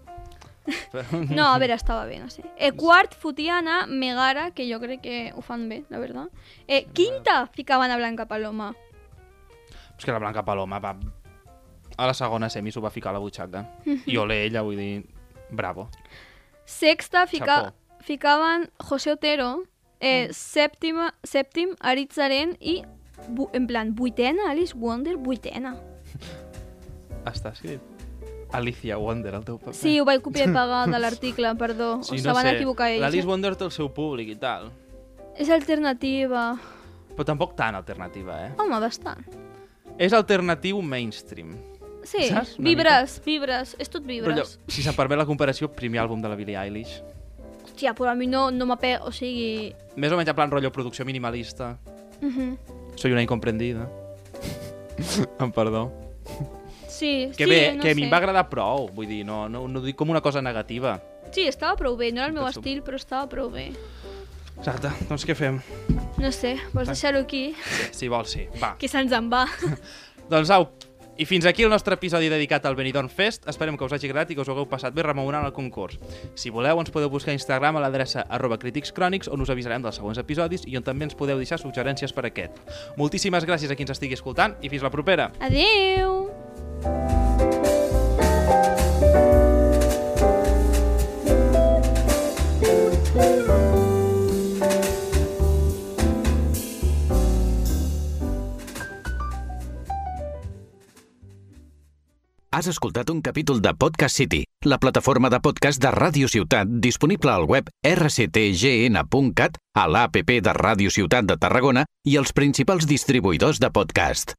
Speaker 3: Però-
Speaker 2: No, a veure, estava bé, no sé. Eh, quart, fotien a Megara, que jo crec que ho fan bé, la veritat. Eh, quinta, ficaven a Blanca Paloma.
Speaker 3: És que la Blanca Paloma va... A la segona semi s'ho va ficar a la butxaca.
Speaker 2: Mhm.
Speaker 3: I ole ella, vull dir... Bravo.
Speaker 2: Sexta, fica...
Speaker 3: Chapó.
Speaker 2: ficaven José Otero.
Speaker 3: Mm.
Speaker 2: Eh, sèptima, sèptim, Aritz Aren i, bu- en plan, vuitena, Alice Wonder, vuitena.
Speaker 3: Està escrit. Alicia Wonder, el teu paper.
Speaker 2: Sí, ho vaig copiar i pagar de l'article, perdó. Sí, se van equivocar
Speaker 3: L'Alice
Speaker 2: ells. eh?
Speaker 3: Wonder té el seu públic i tal.
Speaker 2: És alternativa.
Speaker 3: Però tampoc tan alternativa, eh?
Speaker 2: Home, bastant.
Speaker 3: És alternatiu mainstream.
Speaker 2: Sí,
Speaker 3: Saps? Una
Speaker 2: vibres, vibres, és tot
Speaker 3: Però allò,
Speaker 2: vibres.
Speaker 3: si se'n permet la comparació, primer àlbum de la Billie Eilish.
Speaker 2: Hòstia, però a mi no, no m'apega, o sigui...
Speaker 3: Més o menys en plan rotllo producció minimalista.
Speaker 2: Mhm.
Speaker 3: Soy una incomprendida. em perdó.
Speaker 2: Sí,
Speaker 3: Que
Speaker 2: sí, eh,
Speaker 3: bé,
Speaker 2: no
Speaker 3: que a mi
Speaker 2: sé.
Speaker 3: em va agradar prou. Vull dir, no, no, no ho dic com una cosa negativa.
Speaker 2: Sí, estava prou bé, no era el meu
Speaker 3: Penso-
Speaker 2: estil, però estava prou bé.
Speaker 3: Exacte, doncs què fem?
Speaker 2: No sé, vols deixar-ho aquí?
Speaker 3: Si vols, sí. Va.
Speaker 2: Que se'ns en va.
Speaker 3: Doncs au, I fins aquí el nostre episodi dedicat al Benidorm Fest. Esperem que us hagi agradat i que us ho hagueu passat bé rememorant el concurs. Si voleu, ens podeu buscar a Instagram a l'adreça arroba criticscrònics, on us avisarem dels següents episodis i on també ens podeu deixar suggerències per aquest. Moltíssimes gràcies a qui ens estigui escoltant i fins la propera!
Speaker 2: Adeu!
Speaker 1: Has escoltat un capítol de Podcast City, la plataforma de podcast de Ràdio Ciutat disponible al web rctgn.cat, a l'APP de Ràdio Ciutat de Tarragona i els principals distribuïdors de podcast.